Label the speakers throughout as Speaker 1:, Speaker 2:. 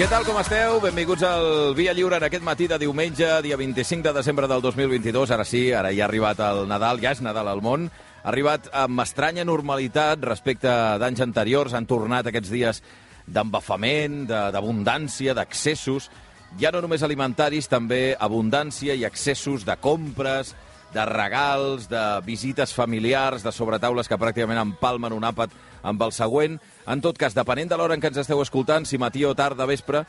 Speaker 1: Què tal, com esteu? Benvinguts al Via Lliure en aquest matí de diumenge, dia 25 de desembre del 2022. Ara sí, ara ja ha arribat el Nadal, ja és Nadal al món. Ha arribat amb estranya normalitat respecte d'anys anteriors. Han tornat aquests dies d'embafament, de- d'abundància, d'accessos. Ja no només alimentaris, també abundància i excessos de compres, de regals, de visites familiars, de sobretaules que pràcticament empalmen un àpat amb el següent. En tot cas, depenent de l'hora en què ens esteu escoltant, si matí o tarda, vespre,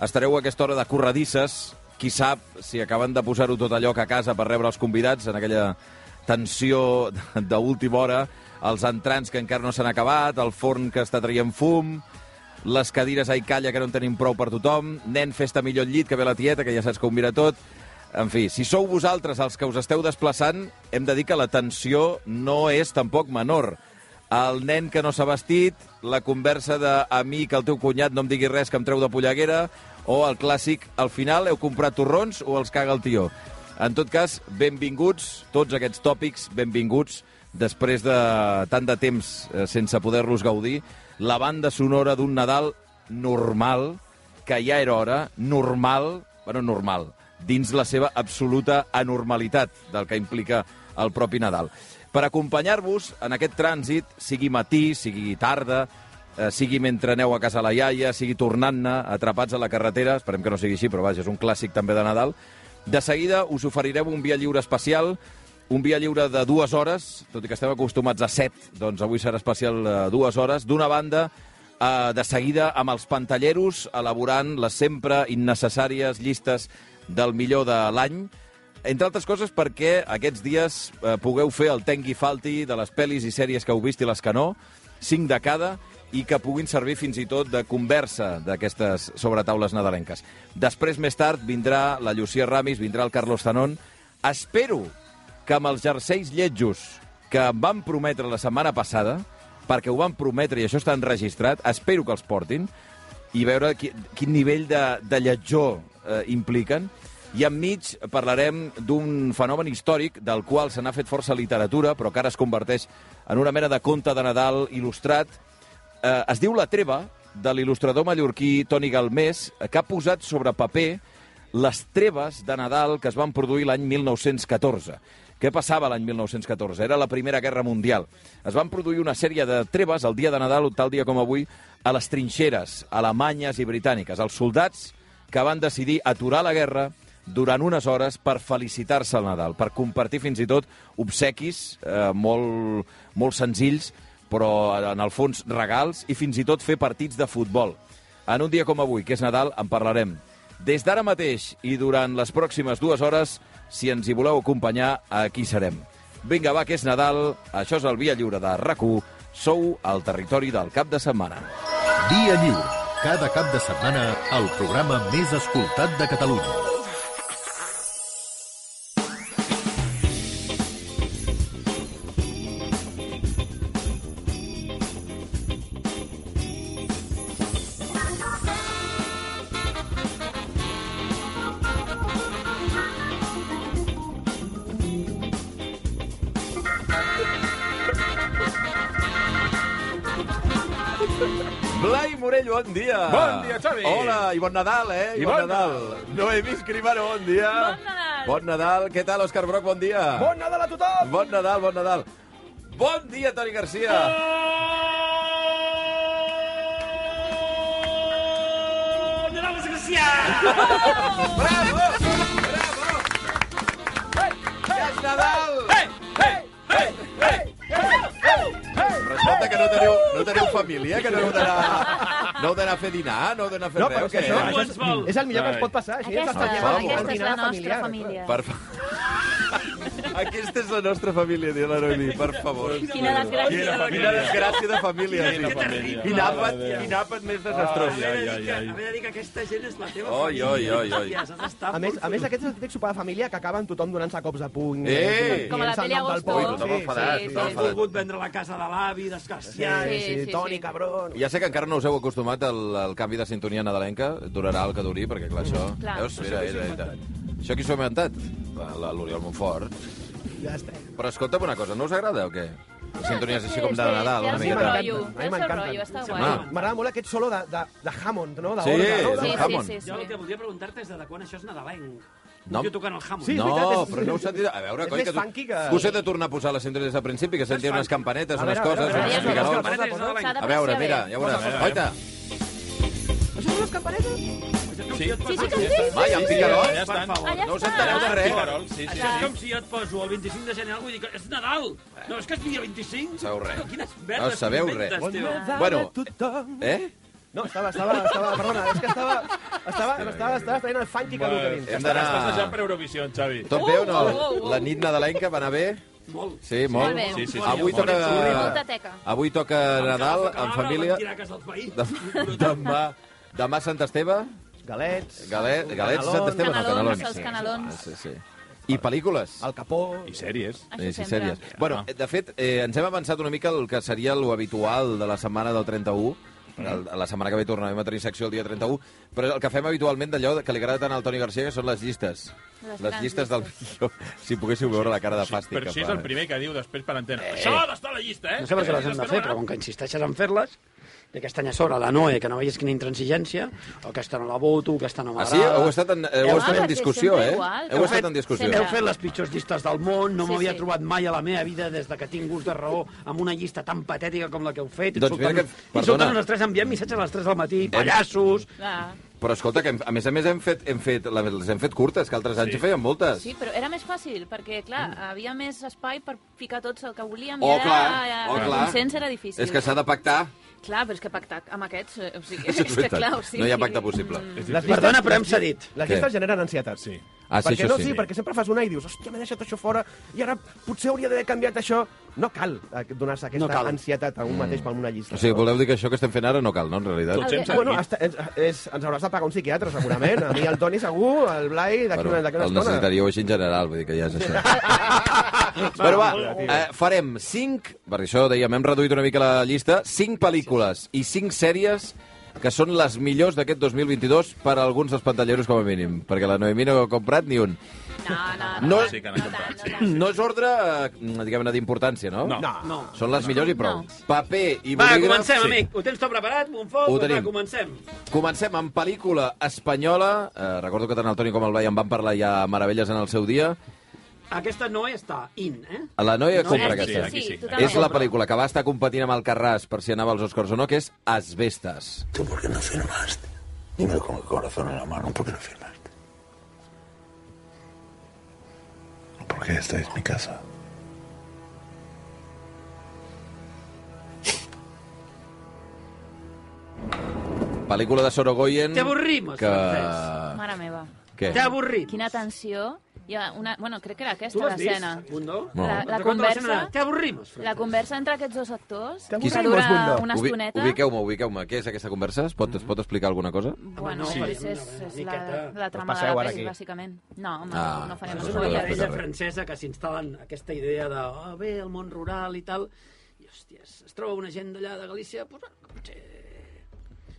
Speaker 1: estareu a aquesta hora de corredisses. Qui sap si acaben de posar-ho tot allò que a casa per rebre els convidats en aquella tensió d'última hora, els entrants que encara no s'han acabat, el forn que està traient fum, les cadires a Icalla que no en tenim prou per tothom, nen, festa millor al llit, que ve la tieta, que ja saps que ho mira tot. En fi, si sou vosaltres els que us esteu desplaçant, hem de dir que la tensió no és tampoc menor. El nen que no s'ha vestit, la conversa de a mi que el teu cunyat no em digui res que em treu de polleguera, o el clàssic, al final heu comprat torrons o els caga el tió. En tot cas, benvinguts, tots aquests tòpics, benvinguts, després de tant de temps eh, sense poder-los gaudir, la banda sonora d'un Nadal normal, que ja era hora, normal, bueno, normal, dins la seva absoluta anormalitat del que implica el propi Nadal. Per acompanyar-vos en aquest trànsit, sigui matí, sigui tarda, eh, sigui mentre aneu a casa la iaia, sigui tornant-ne, atrapats a la carretera, esperem que no sigui així, però vaja, és un clàssic també de Nadal, de seguida us oferirem un via lliure especial, un via lliure de dues hores, tot i que estem acostumats a set, doncs avui serà especial de dues hores. D'una banda, eh, de seguida amb els pantalleros, elaborant les sempre innecessàries llistes del millor de l'any, entre altres coses perquè aquests dies eh, pugueu fer el tengui falti de les pel·lis i sèries que heu vist i les que no, cinc de cada, i que puguin servir fins i tot de conversa d'aquestes sobretaules nadalenques. Després, més tard, vindrà la Llucia Ramis, vindrà el Carlos Tanón. Espero que amb els jerseis lletjos que em van prometre la setmana passada, perquè ho van prometre i això està enregistrat, espero que els portin, i veure qui, quin nivell de, de lletjor eh, impliquen. I enmig parlarem d'un fenomen històric del qual se n'ha fet força literatura, però que ara es converteix en una mena de conte de Nadal il·lustrat. Eh, es diu La Treva, de l'il·lustrador mallorquí Toni Galmés, eh, que ha posat sobre paper les treves de Nadal que es van produir l'any 1914. Què passava l'any 1914? Era la Primera Guerra Mundial. Es van produir una sèrie de treves el dia de Nadal, o tal dia com avui, a les trinxeres alemanyes i britàniques. Els soldats que van decidir aturar la guerra durant unes hores per felicitar-se al Nadal, per compartir fins i tot obsequis eh, molt, molt senzills, però en el fons regals, i fins i tot fer partits de futbol. En un dia com avui, que és Nadal, en parlarem. Des d'ara mateix i durant les pròximes dues hores, si ens hi voleu acompanyar, aquí serem. Vinga, va, que és Nadal, això és el Via Lliure de rac sou al territori del cap de setmana.
Speaker 2: Dia Lliure. Cada cap de setmana, el programa més escoltat de Catalunya.
Speaker 1: Blai Morell, bon dia!
Speaker 3: Bon dia, Xavi!
Speaker 1: Hola, i bon Nadal, eh? I,
Speaker 3: I
Speaker 1: bon,
Speaker 3: bon
Speaker 1: Nadal! Noemí Escribano, bon dia!
Speaker 4: Bon Nadal!
Speaker 1: Bon Nadal! Què tal, Òscar Broc, bon dia!
Speaker 3: Bon Nadal a tothom!
Speaker 1: Bon Nadal, bon Nadal! Bon dia, Toni Garcia!
Speaker 3: Bon Gràcies!
Speaker 1: Bravo! Bravo! Ja és Nadal! Resulta que no teniu, no teniu família, que no heu d'anar no heu d'anar a fer dinar, no heu d'anar a fer
Speaker 4: No, però
Speaker 1: res.
Speaker 4: és que
Speaker 1: què?
Speaker 4: això,
Speaker 3: Ningú
Speaker 4: això
Speaker 3: ens vol.
Speaker 4: és, és el millor que ens pot passar. Així,
Speaker 5: Aquesta,
Speaker 1: per
Speaker 5: aquesta,
Speaker 1: favor.
Speaker 5: és la
Speaker 4: Dinar
Speaker 5: nostra família.
Speaker 1: Per fa... Aquesta és la nostra família, diu la Noemi, per favor.
Speaker 5: Quina desgràcia.
Speaker 3: Quina
Speaker 1: Quina desgràcia de família.
Speaker 3: Quina
Speaker 1: sí.
Speaker 3: família.
Speaker 1: Quin àpat, quin àpat més desastrós.
Speaker 3: Haver de
Speaker 6: Ai, ai,
Speaker 3: dir que-
Speaker 6: ai.
Speaker 3: haver de dir que aquesta gent és la teva
Speaker 1: Oi,
Speaker 3: família.
Speaker 1: oi, oi, oi.
Speaker 3: Hòstia, has d'estar
Speaker 4: A més,
Speaker 3: molt
Speaker 4: a més,
Speaker 3: feliç.
Speaker 4: aquest és el típic sopar de família que acaben tothom donant-se cops de puny.
Speaker 1: Eh!
Speaker 4: dient-se
Speaker 5: Com a la
Speaker 4: el
Speaker 5: peli
Speaker 4: nom del
Speaker 5: Agosto.
Speaker 4: poble.
Speaker 1: Ui, tothom enfadat,
Speaker 5: sí,
Speaker 1: tothom
Speaker 5: sí.
Speaker 3: Has
Speaker 1: enfadat.
Speaker 3: volgut vendre la casa de l'avi, desgraciat.
Speaker 4: Sí,
Speaker 5: Sí,
Speaker 4: sí,
Speaker 5: sí,
Speaker 4: Toni,
Speaker 5: sí.
Speaker 4: cabrón.
Speaker 1: Ja sé que encara no us heu acostumat al, al canvi de sintonia nadalenca. Durarà el que duri, perquè, clar, això...
Speaker 5: Clar.
Speaker 1: Veus? Mira, era, era. Això qui s'ho ha inventat? La- la- L'Oriol Montfort.
Speaker 4: Ja està.
Speaker 1: Però escolta'm una cosa, no us agrada o què? Les sintonies així com de
Speaker 5: Sí,
Speaker 1: Nadal,
Speaker 5: té
Speaker 1: una
Speaker 5: el seu
Speaker 1: miqueta.
Speaker 5: rotllo,
Speaker 4: A
Speaker 5: té
Speaker 4: mi
Speaker 5: el seu
Speaker 4: m'encanta.
Speaker 5: rotllo, està
Speaker 1: Sí,
Speaker 5: guai.
Speaker 1: home.
Speaker 4: M'agrada molt aquest solo de, de, de Hammond, no? De
Speaker 1: Sí,
Speaker 4: orgue, no?
Speaker 1: del
Speaker 4: De-
Speaker 5: Sí,
Speaker 1: Hammond.
Speaker 5: sí, sí,
Speaker 3: Jo el que
Speaker 5: sí.
Speaker 3: voldria preguntar-te és de quan això és nadalenc.
Speaker 1: No.
Speaker 3: No. Jo tocant el jamón.
Speaker 4: Sí, és
Speaker 1: No,
Speaker 4: veritat, és-
Speaker 1: però no us sentit... A veure,
Speaker 4: és
Speaker 1: coi,
Speaker 4: més
Speaker 1: que, tu...
Speaker 4: funky que-
Speaker 1: us he de tornar a posar les sintonies al principi, que sentia unes campanetes,
Speaker 4: A
Speaker 1: unes
Speaker 4: veure,
Speaker 1: coses...
Speaker 4: a
Speaker 1: unes
Speaker 4: veure, a veure,
Speaker 1: picarols.
Speaker 4: a veure,
Speaker 5: S'ha de
Speaker 1: A veure,
Speaker 5: apreciar
Speaker 1: mira,
Speaker 5: bé.
Speaker 1: ja veuràs. Oita,
Speaker 4: Això són les campanetes?
Speaker 6: Sí,
Speaker 5: Sí, sí que ho dic.
Speaker 1: va, hi ha picarols?
Speaker 6: Ja estan.
Speaker 5: Allà
Speaker 1: No us
Speaker 5: està.
Speaker 1: entereu de res.
Speaker 6: Picarol, sí, sí.
Speaker 3: Això és com si jo et poso el 25 de gener algú i dic és Nadal! No, és que és dia 25?
Speaker 1: Sabeu res.
Speaker 3: Quines merdes
Speaker 1: No sabeu
Speaker 3: t'inventes,
Speaker 1: res.
Speaker 3: tio.
Speaker 1: Bueno.
Speaker 4: a tothom.
Speaker 1: Eh?
Speaker 4: No, estava, estava, estava, perdona, és que estava, estava, estava, estava traient el funky que duc a dins.
Speaker 1: Hem
Speaker 6: Estàs
Speaker 1: d'anar...
Speaker 6: passejant per Eurovisió, Xavi.
Speaker 1: Tot bé o no?
Speaker 5: Oh, oh, oh.
Speaker 1: La nit nadalenca va anar bé?
Speaker 3: Molt.
Speaker 1: Sí, molt.
Speaker 5: Molt bé. Sí,
Speaker 6: sí, sí.
Speaker 1: Avui
Speaker 6: Molt.
Speaker 1: toca...
Speaker 6: Horrible.
Speaker 5: Molta teca.
Speaker 1: Avui toca Nadal en família.
Speaker 3: Tirar a casa dels veïns.
Speaker 1: Dem- Demà, demà Sant Esteve.
Speaker 4: Galets,
Speaker 1: Galet, Galets, Sant Esteve, no,
Speaker 5: Canelons,
Speaker 1: Canelons.
Speaker 5: els canelons.
Speaker 1: Sí, sí. I pel·lícules.
Speaker 4: el capó...
Speaker 6: I sèries.
Speaker 5: Això
Speaker 1: sí,
Speaker 5: sempre.
Speaker 1: sèries. Bueno,
Speaker 6: Ah.
Speaker 1: eh, de fet, eh, ens hem avançat una mica el que seria lo habitual de la setmana del 31,
Speaker 6: Mm.
Speaker 1: perquè el- la setmana que ve tornarem a tenir secció el dia 31, però el que fem habitualment d'allò que li agrada tant al Toni Garcia que són les llistes.
Speaker 5: Les
Speaker 1: Les,
Speaker 5: grans
Speaker 1: llistes del millor. Si poguéssiu veure la cara de fàstic.
Speaker 6: Però
Speaker 1: que
Speaker 6: si és
Speaker 1: fa.
Speaker 6: el primer que diu després per antena. Això ha d'estar a la llista, eh?
Speaker 7: No sé per què les hem de fer, però com que insisteixes en fer-les, i aquest any a sobre la Noe, que no veies quina intransigència, o aquesta no la voto, o aquesta no
Speaker 1: Ah,
Speaker 7: m'agrada...
Speaker 1: sí? Heu estat en, heu
Speaker 5: Home,
Speaker 1: estat en
Speaker 5: perquè
Speaker 1: discussió,
Speaker 5: sempre
Speaker 1: eh?
Speaker 5: igual.
Speaker 1: Heu estat en discussió.
Speaker 5: Sempre.
Speaker 7: Heu fet les pitjors llistes del món, no
Speaker 5: Sí,
Speaker 7: m'havia
Speaker 5: sí.
Speaker 7: trobat mai a la meva vida des de que tinc gust de raó amb una llista tan patètica com la que heu fet.
Speaker 1: Doncs mira
Speaker 7: Insultant-
Speaker 1: que-
Speaker 7: Insultant
Speaker 1: perdona.
Speaker 7: a les 3, enviant missatges a les 3 del matí, pallassos...
Speaker 5: Ah.
Speaker 1: Però escolta, que hem- a més a més hem fet, hem fet, les hem fet curtes, que altres anys en feien moltes.
Speaker 5: Sí, però era més fàcil, perquè, clar, havia més espai per ficar tots el que volíem.
Speaker 1: Oh,
Speaker 5: i
Speaker 1: clar,
Speaker 5: era,
Speaker 1: oh,
Speaker 5: el
Speaker 1: clar.
Speaker 5: consens era difícil.
Speaker 1: És que s'ha de pactar.
Speaker 5: Clar, però és que pactar amb aquests... eh, O sigui,
Speaker 1: Això és
Speaker 5: és que,
Speaker 1: veritat.
Speaker 5: clar, o sigui... mm,
Speaker 1: No hi ha pacte possible.
Speaker 4: Les
Speaker 7: Perdona, però hem cedit.
Speaker 4: Les
Speaker 1: Què?
Speaker 4: llistes generen ansietat. Sí.
Speaker 1: Ah, sí,
Speaker 4: perquè
Speaker 1: això
Speaker 4: no,
Speaker 1: sí.
Speaker 4: sí, perquè sempre fas una i dius, hòstia, m'he deixat això fora, i ara potser hauria d'haver canviat això. No cal eh, donar-se aquesta
Speaker 7: No cal.
Speaker 4: ansietat a un mateix per una llista.
Speaker 1: O sigui,
Speaker 4: No?
Speaker 1: voleu dir que això que estem fent ara no cal, no, en realitat?
Speaker 6: Tots hem cedit.
Speaker 4: Bueno, està, és, és, ens hauràs de pagar un psiquiatre, segurament. A mi, el Toni, segur, el Blai, d'aquí
Speaker 1: Bueno,
Speaker 4: una, d'aquí una
Speaker 1: el
Speaker 4: estona.
Speaker 1: necessitaríeu així en general, vull dir que ja és això. Però va, eh, farem cinc, perquè això dèiem, hem reduït una mica la llista, cinc pel·lícules i cinc sèries que són les millors d'aquest 2022 per a alguns dels pantalleros com a mínim, perquè la Noemí no ha comprat ni un.
Speaker 5: No, no, no.
Speaker 1: No,
Speaker 6: Sí que n'ha comprat, sí.
Speaker 1: no és ordre, eh, diguem-ne, d'importància, no?
Speaker 6: No.
Speaker 4: No.
Speaker 1: Són les millors i prou.
Speaker 5: No.
Speaker 1: Paper i
Speaker 3: Va,
Speaker 1: bolígraf...
Speaker 3: comencem,
Speaker 6: Sí.
Speaker 3: amic. Ho tens tot preparat, Monfort?
Speaker 1: Ho
Speaker 3: Doncs
Speaker 1: tenim.
Speaker 3: Va, comencem.
Speaker 1: Comencem amb pel·lícula espanyola. Eh, recordo que tant el Toni com el Blai en van parlar ja meravelles en el seu dia.
Speaker 3: Aquesta no està in, eh?
Speaker 1: La noia
Speaker 5: No,
Speaker 1: compra
Speaker 5: aquí
Speaker 1: aquesta.
Speaker 5: Sí,
Speaker 6: Aquí sí.
Speaker 5: sí, totalment.
Speaker 1: És la pel·lícula que va estar competint amb el Carràs per si anava als Oscars o no, que és Asbestas.
Speaker 8: ¿Tú por qué no firmaste? Dímelo con el corazón en la mano, ¿por qué no firmaste? Porque esta es mi casa.
Speaker 1: Pel·lícula de Sorogoyen...
Speaker 3: T'avorrim, els
Speaker 1: Mm. que...
Speaker 3: francès.
Speaker 5: Mare meva.
Speaker 1: Què?
Speaker 3: T'ha avorrit.
Speaker 5: Quina tensió. Hi ha una... Bueno, crec que era
Speaker 3: Tu
Speaker 5: aquesta
Speaker 3: l'has vist,
Speaker 5: l'escena.
Speaker 3: Bundó?
Speaker 1: No.
Speaker 5: La, la
Speaker 3: Recordo l'escena
Speaker 5: conversa...
Speaker 3: de, Te avorrimos,
Speaker 5: La conversa entre aquests dos actors,
Speaker 4: Te
Speaker 5: que
Speaker 4: avorrimos,
Speaker 5: dura
Speaker 4: Bundó.
Speaker 5: una
Speaker 1: Ubi-
Speaker 5: estoneta...
Speaker 1: Ubiqueu-me, ubiqueu-me. Què és aquesta conversa? Es pot, es pot explicar alguna cosa?
Speaker 5: Bueno,
Speaker 3: Sí.
Speaker 5: doncs és, és la, la trama de
Speaker 4: passeu
Speaker 5: la
Speaker 4: ara
Speaker 5: pel·li,
Speaker 4: aquí.
Speaker 5: bàsicament. No, home,
Speaker 1: Ah,
Speaker 5: no, no farem
Speaker 1: no
Speaker 3: És
Speaker 1: es
Speaker 3: una
Speaker 1: podrà
Speaker 5: spoilers.
Speaker 1: explicar.
Speaker 3: parella
Speaker 1: res.
Speaker 3: francesa que s'instal·la en aquesta idea de
Speaker 7: "Ah,
Speaker 3: oh, bé, el món rural i tal, i hòsties, es troba una gent d'allà de Galícia pues, bueno, que potser...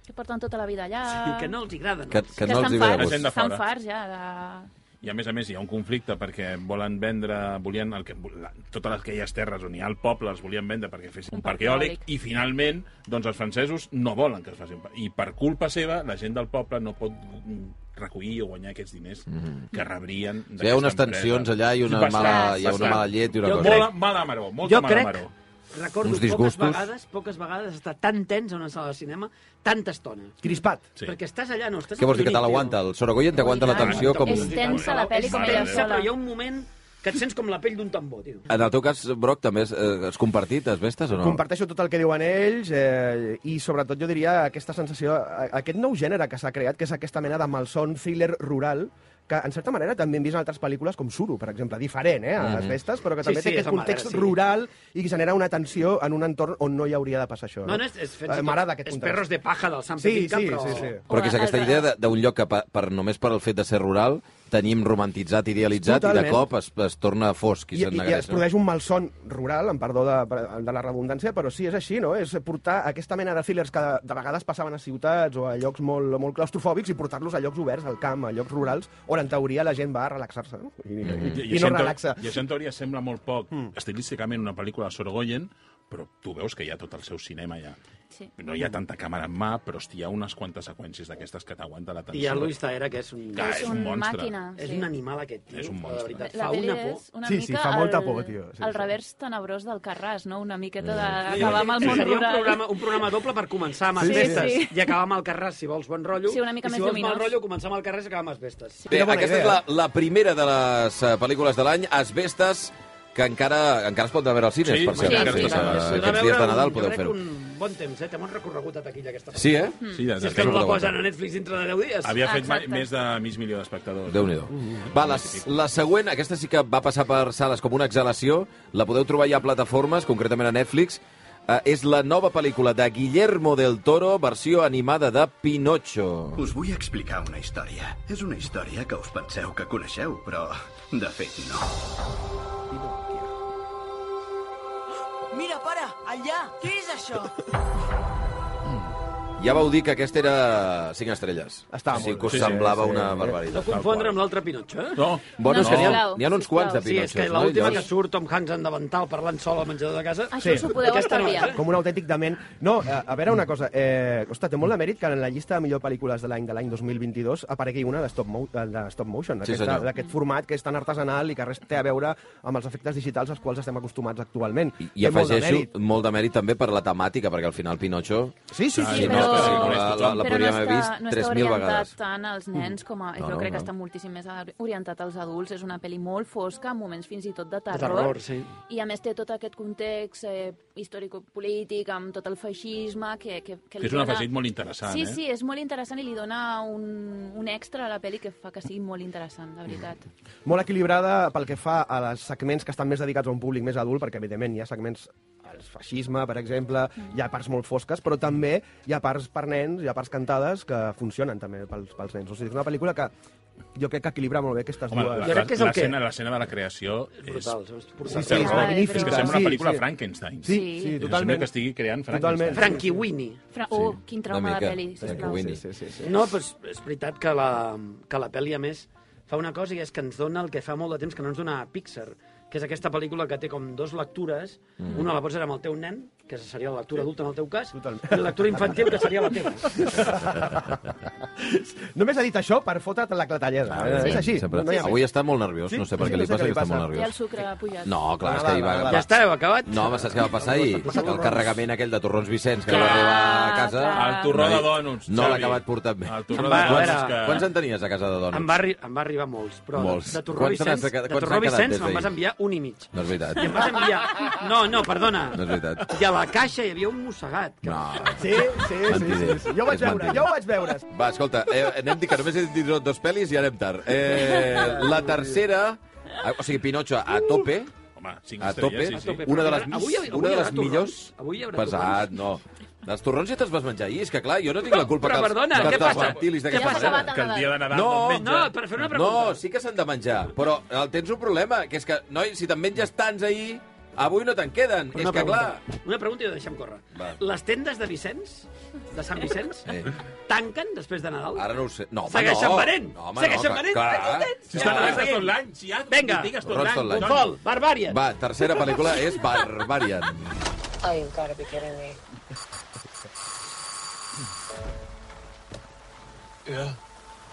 Speaker 5: Que porten tota la vida allà...
Speaker 3: Sí, que no els agraden.
Speaker 1: Que, que, no els hi ve de
Speaker 5: estan
Speaker 6: La gent
Speaker 1: gust.
Speaker 6: de
Speaker 5: estan
Speaker 6: fora.
Speaker 5: farts ja de...
Speaker 6: I a més a més hi ha un conflicte perquè volen vendre, volien el que, la, totes aquelles terres on hi ha el poble les volien vendre perquè fessin un parc eòlic i finalment doncs els francesos no volen que es facin pa- i per culpa seva la gent del poble no pot mm, recollir o guanyar aquests diners
Speaker 1: Mhm.
Speaker 6: que rebrien
Speaker 1: Hi ha unes tensions allà i una, mala, hi ha una mala llet i una
Speaker 6: jo
Speaker 1: cosa.
Speaker 6: Mala, mala maró, molta
Speaker 7: Jo
Speaker 6: mala
Speaker 7: crec
Speaker 6: maró.
Speaker 7: Recordo
Speaker 1: Uns
Speaker 7: poques
Speaker 1: disgustos.
Speaker 7: vegades, poques vegades estar tan tens a una sala de cinema, tanta estona.
Speaker 4: Crispat.
Speaker 6: Sí.
Speaker 7: Perquè estàs allà, no, estàs...
Speaker 1: Què vols dir, que te
Speaker 7: empíric,
Speaker 1: l'aguanta?
Speaker 7: tio.
Speaker 1: El Sorogoyen t'aguanta
Speaker 7: Oh, i tant.
Speaker 1: l'atenció com...
Speaker 5: És tensa la pel·li com
Speaker 6: Mare
Speaker 5: ella
Speaker 6: de Déu.
Speaker 7: Sempre
Speaker 5: sola.
Speaker 7: hi ha un moment que et sents com la pell d'un tambor, tio.
Speaker 1: En el teu cas, Broc, també has, eh, has compartit, has vestes o no?
Speaker 4: Comparteixo tot el que diuen ells eh, i sobretot jo diria aquesta sensació, a- aquest nou gènere que s'ha creat, que és aquesta mena de malson thriller rural, que en certa manera també hem vist en altres pel·lícules com Suro, per exemple, diferent, eh, a les festes, però que
Speaker 7: Sí,
Speaker 4: també
Speaker 7: sí,
Speaker 4: té
Speaker 7: és
Speaker 4: aquest
Speaker 7: a Madrid,
Speaker 4: context
Speaker 7: sí.
Speaker 4: rural i que genera una tensió en un entorn on no hi hauria de passar això.
Speaker 7: No, no, és, és, fins i tot-
Speaker 4: Eh, M'agrada aquest
Speaker 7: és
Speaker 4: contrast.
Speaker 7: perros de paja del Sant
Speaker 4: Sí,
Speaker 7: Pepita,
Speaker 4: sí,
Speaker 7: però...
Speaker 4: sí, sí.
Speaker 1: Però que és
Speaker 5: Home,
Speaker 1: aquesta
Speaker 5: el-
Speaker 1: idea de- d'un lloc que per, per, només per el fet de ser rural tenim romantitzat, idealitzat, i
Speaker 4: Totalment.
Speaker 1: de cop es, es torna fosc i,
Speaker 4: I,
Speaker 1: se'n
Speaker 4: i, I es
Speaker 1: negreix. no?
Speaker 4: produeix un malson rural, en perdó de, de la redundància, però sí, és així, no? És portar aquesta mena de thrillers que de vegades passaven a ciutats o a llocs molt, molt claustrofòbics i portar-los a llocs oberts, al camp, a llocs rurals, on en teoria la gent va a relaxar-se, no? I,
Speaker 1: Mm.
Speaker 4: i, i, i
Speaker 6: això
Speaker 4: no
Speaker 6: en teo-
Speaker 4: relaxa.
Speaker 6: I això en teoria sembla molt poc mm. estilísticament una pel·lícula de Sorogoyen, però tu veus que hi ha tot el seu cinema allà.
Speaker 5: Sí.
Speaker 6: No hi ha tanta càmera en mà, però hosti, hi ha unes quantes seqüències d'aquestes que t'aguanta l'atenció.
Speaker 7: I el Luis Taera, que Ah, és un...
Speaker 6: Que
Speaker 5: És
Speaker 6: és
Speaker 5: un
Speaker 6: un monstre.
Speaker 5: màquina.
Speaker 7: És
Speaker 5: sí.
Speaker 7: un animal, aquest tio.
Speaker 6: És un
Speaker 7: però
Speaker 6: monstre.
Speaker 7: De veritat,
Speaker 5: La
Speaker 7: fa
Speaker 5: pel·li
Speaker 7: una por.
Speaker 5: és una
Speaker 4: Sí,
Speaker 5: mica
Speaker 4: sí, fa molta
Speaker 5: el,
Speaker 4: por, tio. Sí,
Speaker 5: el
Speaker 4: sí.
Speaker 5: revers tenebrós del Carràs, no? Una miqueta
Speaker 7: Sí,
Speaker 5: d'acabar amb el món
Speaker 7: Seria un
Speaker 5: rural.
Speaker 7: programa, un programa doble per començar amb
Speaker 4: Sí,
Speaker 7: les vestes
Speaker 5: sí.
Speaker 7: i acabar amb el Carràs, si vols bon rotllo.
Speaker 5: Sí, una mica
Speaker 7: I
Speaker 5: més
Speaker 7: si vols
Speaker 5: lluminós.
Speaker 7: mal rotllo, començar amb el Carràs i acabar amb les vestes.
Speaker 1: Bé,
Speaker 4: Quina bona
Speaker 1: aquesta
Speaker 4: idea, eh?
Speaker 1: és la, la primera de les eh, pel·lícules de l'any, Asbestes, que encara, encara es pot anar a veure als cines,
Speaker 6: Sí,
Speaker 1: per
Speaker 6: sí,
Speaker 1: cert.
Speaker 5: sí,
Speaker 1: aquests,
Speaker 5: sí,
Speaker 1: eh,
Speaker 5: sí, sí.
Speaker 1: aquests dies de Nadal podeu fer-ho.
Speaker 7: fer-ho. un bon temps, eh? Té bon recorregut a taquilla, aquesta
Speaker 1: Sí, eh?
Speaker 6: Sí, des
Speaker 7: Si
Speaker 6: de
Speaker 7: és que no la
Speaker 1: Recorregut.
Speaker 7: posen a Netflix dintre de 10 dies.
Speaker 6: Havia fet mai,
Speaker 5: Exacte.
Speaker 6: més de mig milió d'espectadors.
Speaker 1: déu nhi Va, la, la següent, aquesta sí que va passar per sales com una exhalació, la podeu trobar ja a plataformes, concretament a Netflix, eh, és la nova pel·lícula de Guillermo del Toro, versió animada de Pinocho.
Speaker 9: Us vull explicar una història. És una història que us penseu que coneixeu, però de fet no.
Speaker 10: Mira, pare, allà! Què és això?
Speaker 1: Ja vau dir que aquesta era 5 estrelles.
Speaker 4: Estava
Speaker 1: o sigui, que
Speaker 4: molt
Speaker 1: us
Speaker 4: bé. Sí,
Speaker 1: semblava
Speaker 4: sí,
Speaker 1: una
Speaker 4: sí.
Speaker 7: No
Speaker 1: barbaritat.
Speaker 7: confondre amb l'altre Pinotxo, eh?
Speaker 6: No,
Speaker 1: Bueno,
Speaker 5: No,
Speaker 1: és que n'hi ha,
Speaker 5: sisplau,
Speaker 1: n'hi ha uns quants de
Speaker 5: sisplau.
Speaker 7: Sí,
Speaker 1: Pinocho.
Speaker 7: és que l'última que surt Tom Hanks en davantal parlant sol al menjador de casa...
Speaker 5: Això us ho podeu
Speaker 7: Aquesta no,
Speaker 5: estalviar.
Speaker 7: eh?
Speaker 4: Com un autèntic dement. No, eh, a veure una cosa. Eh, ostres, té molt de mèrit que en la llista de millor pel·lícules de l'any de l'any 2022 aparegui una de stop, mo de de stop motion,
Speaker 1: Sí,
Speaker 4: d'aquesta-
Speaker 1: senyor.
Speaker 4: d'aquest format que és tan artesanal i que res té a veure amb els efectes digitals als quals estem acostumats actualment.
Speaker 1: I, I
Speaker 4: Té molt de
Speaker 1: afegeixo
Speaker 4: mèrit.
Speaker 1: molt de mèrit també per la temàtica, perquè al final Pinocho...
Speaker 4: Sí, sí,
Speaker 6: Ah,
Speaker 4: sí.
Speaker 5: Sí,
Speaker 1: si no,
Speaker 5: però...
Speaker 1: és que si no, la- la- la
Speaker 5: però
Speaker 1: podríem
Speaker 5: no
Speaker 1: haver
Speaker 5: està,
Speaker 1: vist
Speaker 5: no
Speaker 1: 3.000
Speaker 5: està orientat
Speaker 1: vegades. Mm.
Speaker 5: tant als nens com a...
Speaker 1: No,
Speaker 5: jo
Speaker 1: no, no.
Speaker 5: crec que està moltíssim més orientat als adults. És una pel·li molt fosca, amb moments fins i tot de
Speaker 7: De
Speaker 5: terror.
Speaker 7: terror, sí.
Speaker 5: I a més té tot aquest context eh, històrico-polític, amb tot el feixisme, que, que, que
Speaker 6: que és un afegit molt interessant,
Speaker 5: Sí,
Speaker 6: eh?
Speaker 5: sí, és molt interessant i li dona un, un extra a la pel·li que fa que sigui molt interessant, de veritat.
Speaker 4: molt equilibrada pel que fa a les segments que estan més dedicats a un públic més adult, perquè evidentment hi ha segments al feixisme, per exemple, hi ha parts molt fosques, però també hi ha parts per nens, hi ha parts cantades que funcionen també pels, pels nens. O sigui, és una pel·lícula que jo crec que equilibra molt bé aquestes
Speaker 6: Home,
Speaker 4: dues.
Speaker 6: la-
Speaker 7: Jo crec que és el que-
Speaker 6: l'escena l'escena de la creació és...
Speaker 7: Brutal, és brutal.
Speaker 4: Sí, és
Speaker 5: Ai,
Speaker 4: magnífica.
Speaker 6: és que sembla
Speaker 4: Sí,
Speaker 6: una pel·lícula
Speaker 4: sí.
Speaker 6: Frankenstein.
Speaker 4: Sí,
Speaker 5: Sí.
Speaker 4: sí,
Speaker 6: És sembla
Speaker 4: totalment.
Speaker 6: que estigui creant
Speaker 4: Totalment.
Speaker 6: Frankenstein.
Speaker 7: Frankie Winnie.
Speaker 5: Fra... Oh, quin trauma
Speaker 1: mica, eh,
Speaker 5: de pel·li, sisplau.
Speaker 1: Frankie Winnie.
Speaker 4: Sí, sí, sí.
Speaker 7: No, però és, és veritat que la, que la pel·li, a més, fa una cosa i és que ens dona el que fa molt de temps que no ens dona Pixar, que és aquesta pel·lícula que té com dues lectures. Mm. Una la pots veure amb el teu nen, que seria la lectura adulta en el teu cas,
Speaker 4: Totalment.
Speaker 7: i la lectura infantil, que seria la teva.
Speaker 4: Només ha dit això per fotre't la clatallesa. eh? és així.
Speaker 1: Ah, Sempre.
Speaker 4: No hi ha
Speaker 1: Avui
Speaker 4: més.
Speaker 1: està molt nerviós, no sé per
Speaker 4: sí,
Speaker 1: què
Speaker 4: no
Speaker 1: li
Speaker 4: sé
Speaker 1: passa,
Speaker 4: què li
Speaker 1: que està molt
Speaker 4: passa.
Speaker 5: Té el
Speaker 1: nerviós.
Speaker 5: sucre pujat.
Speaker 1: No, clar, és que hi va...
Speaker 4: Ja
Speaker 1: va-
Speaker 7: ja està, heu acabat?
Speaker 1: No, home, saps què va passar ahir? Que el carregament aquell de torrons Vicenç que va
Speaker 5: Clar,
Speaker 1: arribar a casa...
Speaker 5: clar.
Speaker 6: El torró
Speaker 1: no hi-
Speaker 6: de dònuts,
Speaker 1: No l'ha
Speaker 6: Xavi.
Speaker 1: acabat portant bé.
Speaker 6: El
Speaker 7: Va,
Speaker 6: torró de
Speaker 7: a
Speaker 6: dònuts
Speaker 7: veure,
Speaker 6: que...
Speaker 1: Quants en tenies a casa de
Speaker 7: Em
Speaker 1: dònuts?
Speaker 7: va, arri em va arribar molts, però
Speaker 1: Molts.
Speaker 7: de Torró
Speaker 1: Quants
Speaker 7: Vicenç,
Speaker 1: n'has de-
Speaker 7: de
Speaker 1: quants
Speaker 7: Torró
Speaker 1: n'han quedat
Speaker 7: Vicenç
Speaker 1: des
Speaker 7: me'n vas
Speaker 1: d'ahir?
Speaker 7: enviar un i mig.
Speaker 1: No és veritat.
Speaker 7: I em vas enviar... No, no, perdona.
Speaker 1: No és veritat.
Speaker 7: I a la caixa hi havia un mossegat. Que...
Speaker 1: No.
Speaker 4: Sí, sí, sí, sí, sí. Jo ho vaig
Speaker 1: És
Speaker 4: veure,
Speaker 1: mentida.
Speaker 4: jo ho vaig veure.
Speaker 1: Va, escolta, eh, anem dit que només he dit dos pel·lis i anem tard. Eh, la tercera... eh, O sigui, Pinocho a tope,
Speaker 6: Home, cinc
Speaker 1: a tope,
Speaker 6: estrelles, sí, sí.
Speaker 1: una de les,
Speaker 7: Avui- avui
Speaker 1: una de
Speaker 7: hi haurà
Speaker 1: les millors...
Speaker 7: torrons? Avui hi haurà
Speaker 1: Pesat, no. Els torrons ja te'ls vas menjar ahir, és que clar, jo no tinc la culpa que
Speaker 7: Però,
Speaker 1: els,
Speaker 7: perdona,
Speaker 1: que
Speaker 7: què
Speaker 1: els
Speaker 7: passa?
Speaker 1: reptilis
Speaker 5: Què
Speaker 1: d'aquesta
Speaker 5: passa,
Speaker 1: manera.
Speaker 5: Bata?
Speaker 6: Que el dia de Nadal
Speaker 1: No,
Speaker 6: no menja...
Speaker 7: No, per fer una pregunta.
Speaker 1: No, sí que s'han de menjar, però el tens un problema, que és que, noi, si te'n menges tants ahir, avui no te'n queden.
Speaker 7: Una
Speaker 1: és que,
Speaker 7: pregunta,
Speaker 1: clar...
Speaker 7: Una pregunta i ho deixem córrer.
Speaker 1: Va.
Speaker 7: Les tendes de Vicenç, de Sant Vicenç,
Speaker 1: Eh.
Speaker 7: tanquen després de Nadal?
Speaker 1: Ara no ho sé. No, home,
Speaker 7: Segueixen
Speaker 1: no.
Speaker 7: venent!
Speaker 1: No, home,
Speaker 7: Segueixen
Speaker 1: no,
Speaker 7: venent! Aquí ho
Speaker 1: Clar.
Speaker 7: tens!
Speaker 6: Si estan
Speaker 1: Clar.
Speaker 6: obertes tot l'any, si hi ha
Speaker 7: Vinga.
Speaker 6: botigues tot
Speaker 1: Torrons tot
Speaker 6: l'any.
Speaker 1: l'any.
Speaker 6: doncs-
Speaker 7: Fol, barbària!
Speaker 1: Va, tercera pel·lícula és Barbarian.
Speaker 10: Oh, you've got to be kidding me.
Speaker 9: Yeah.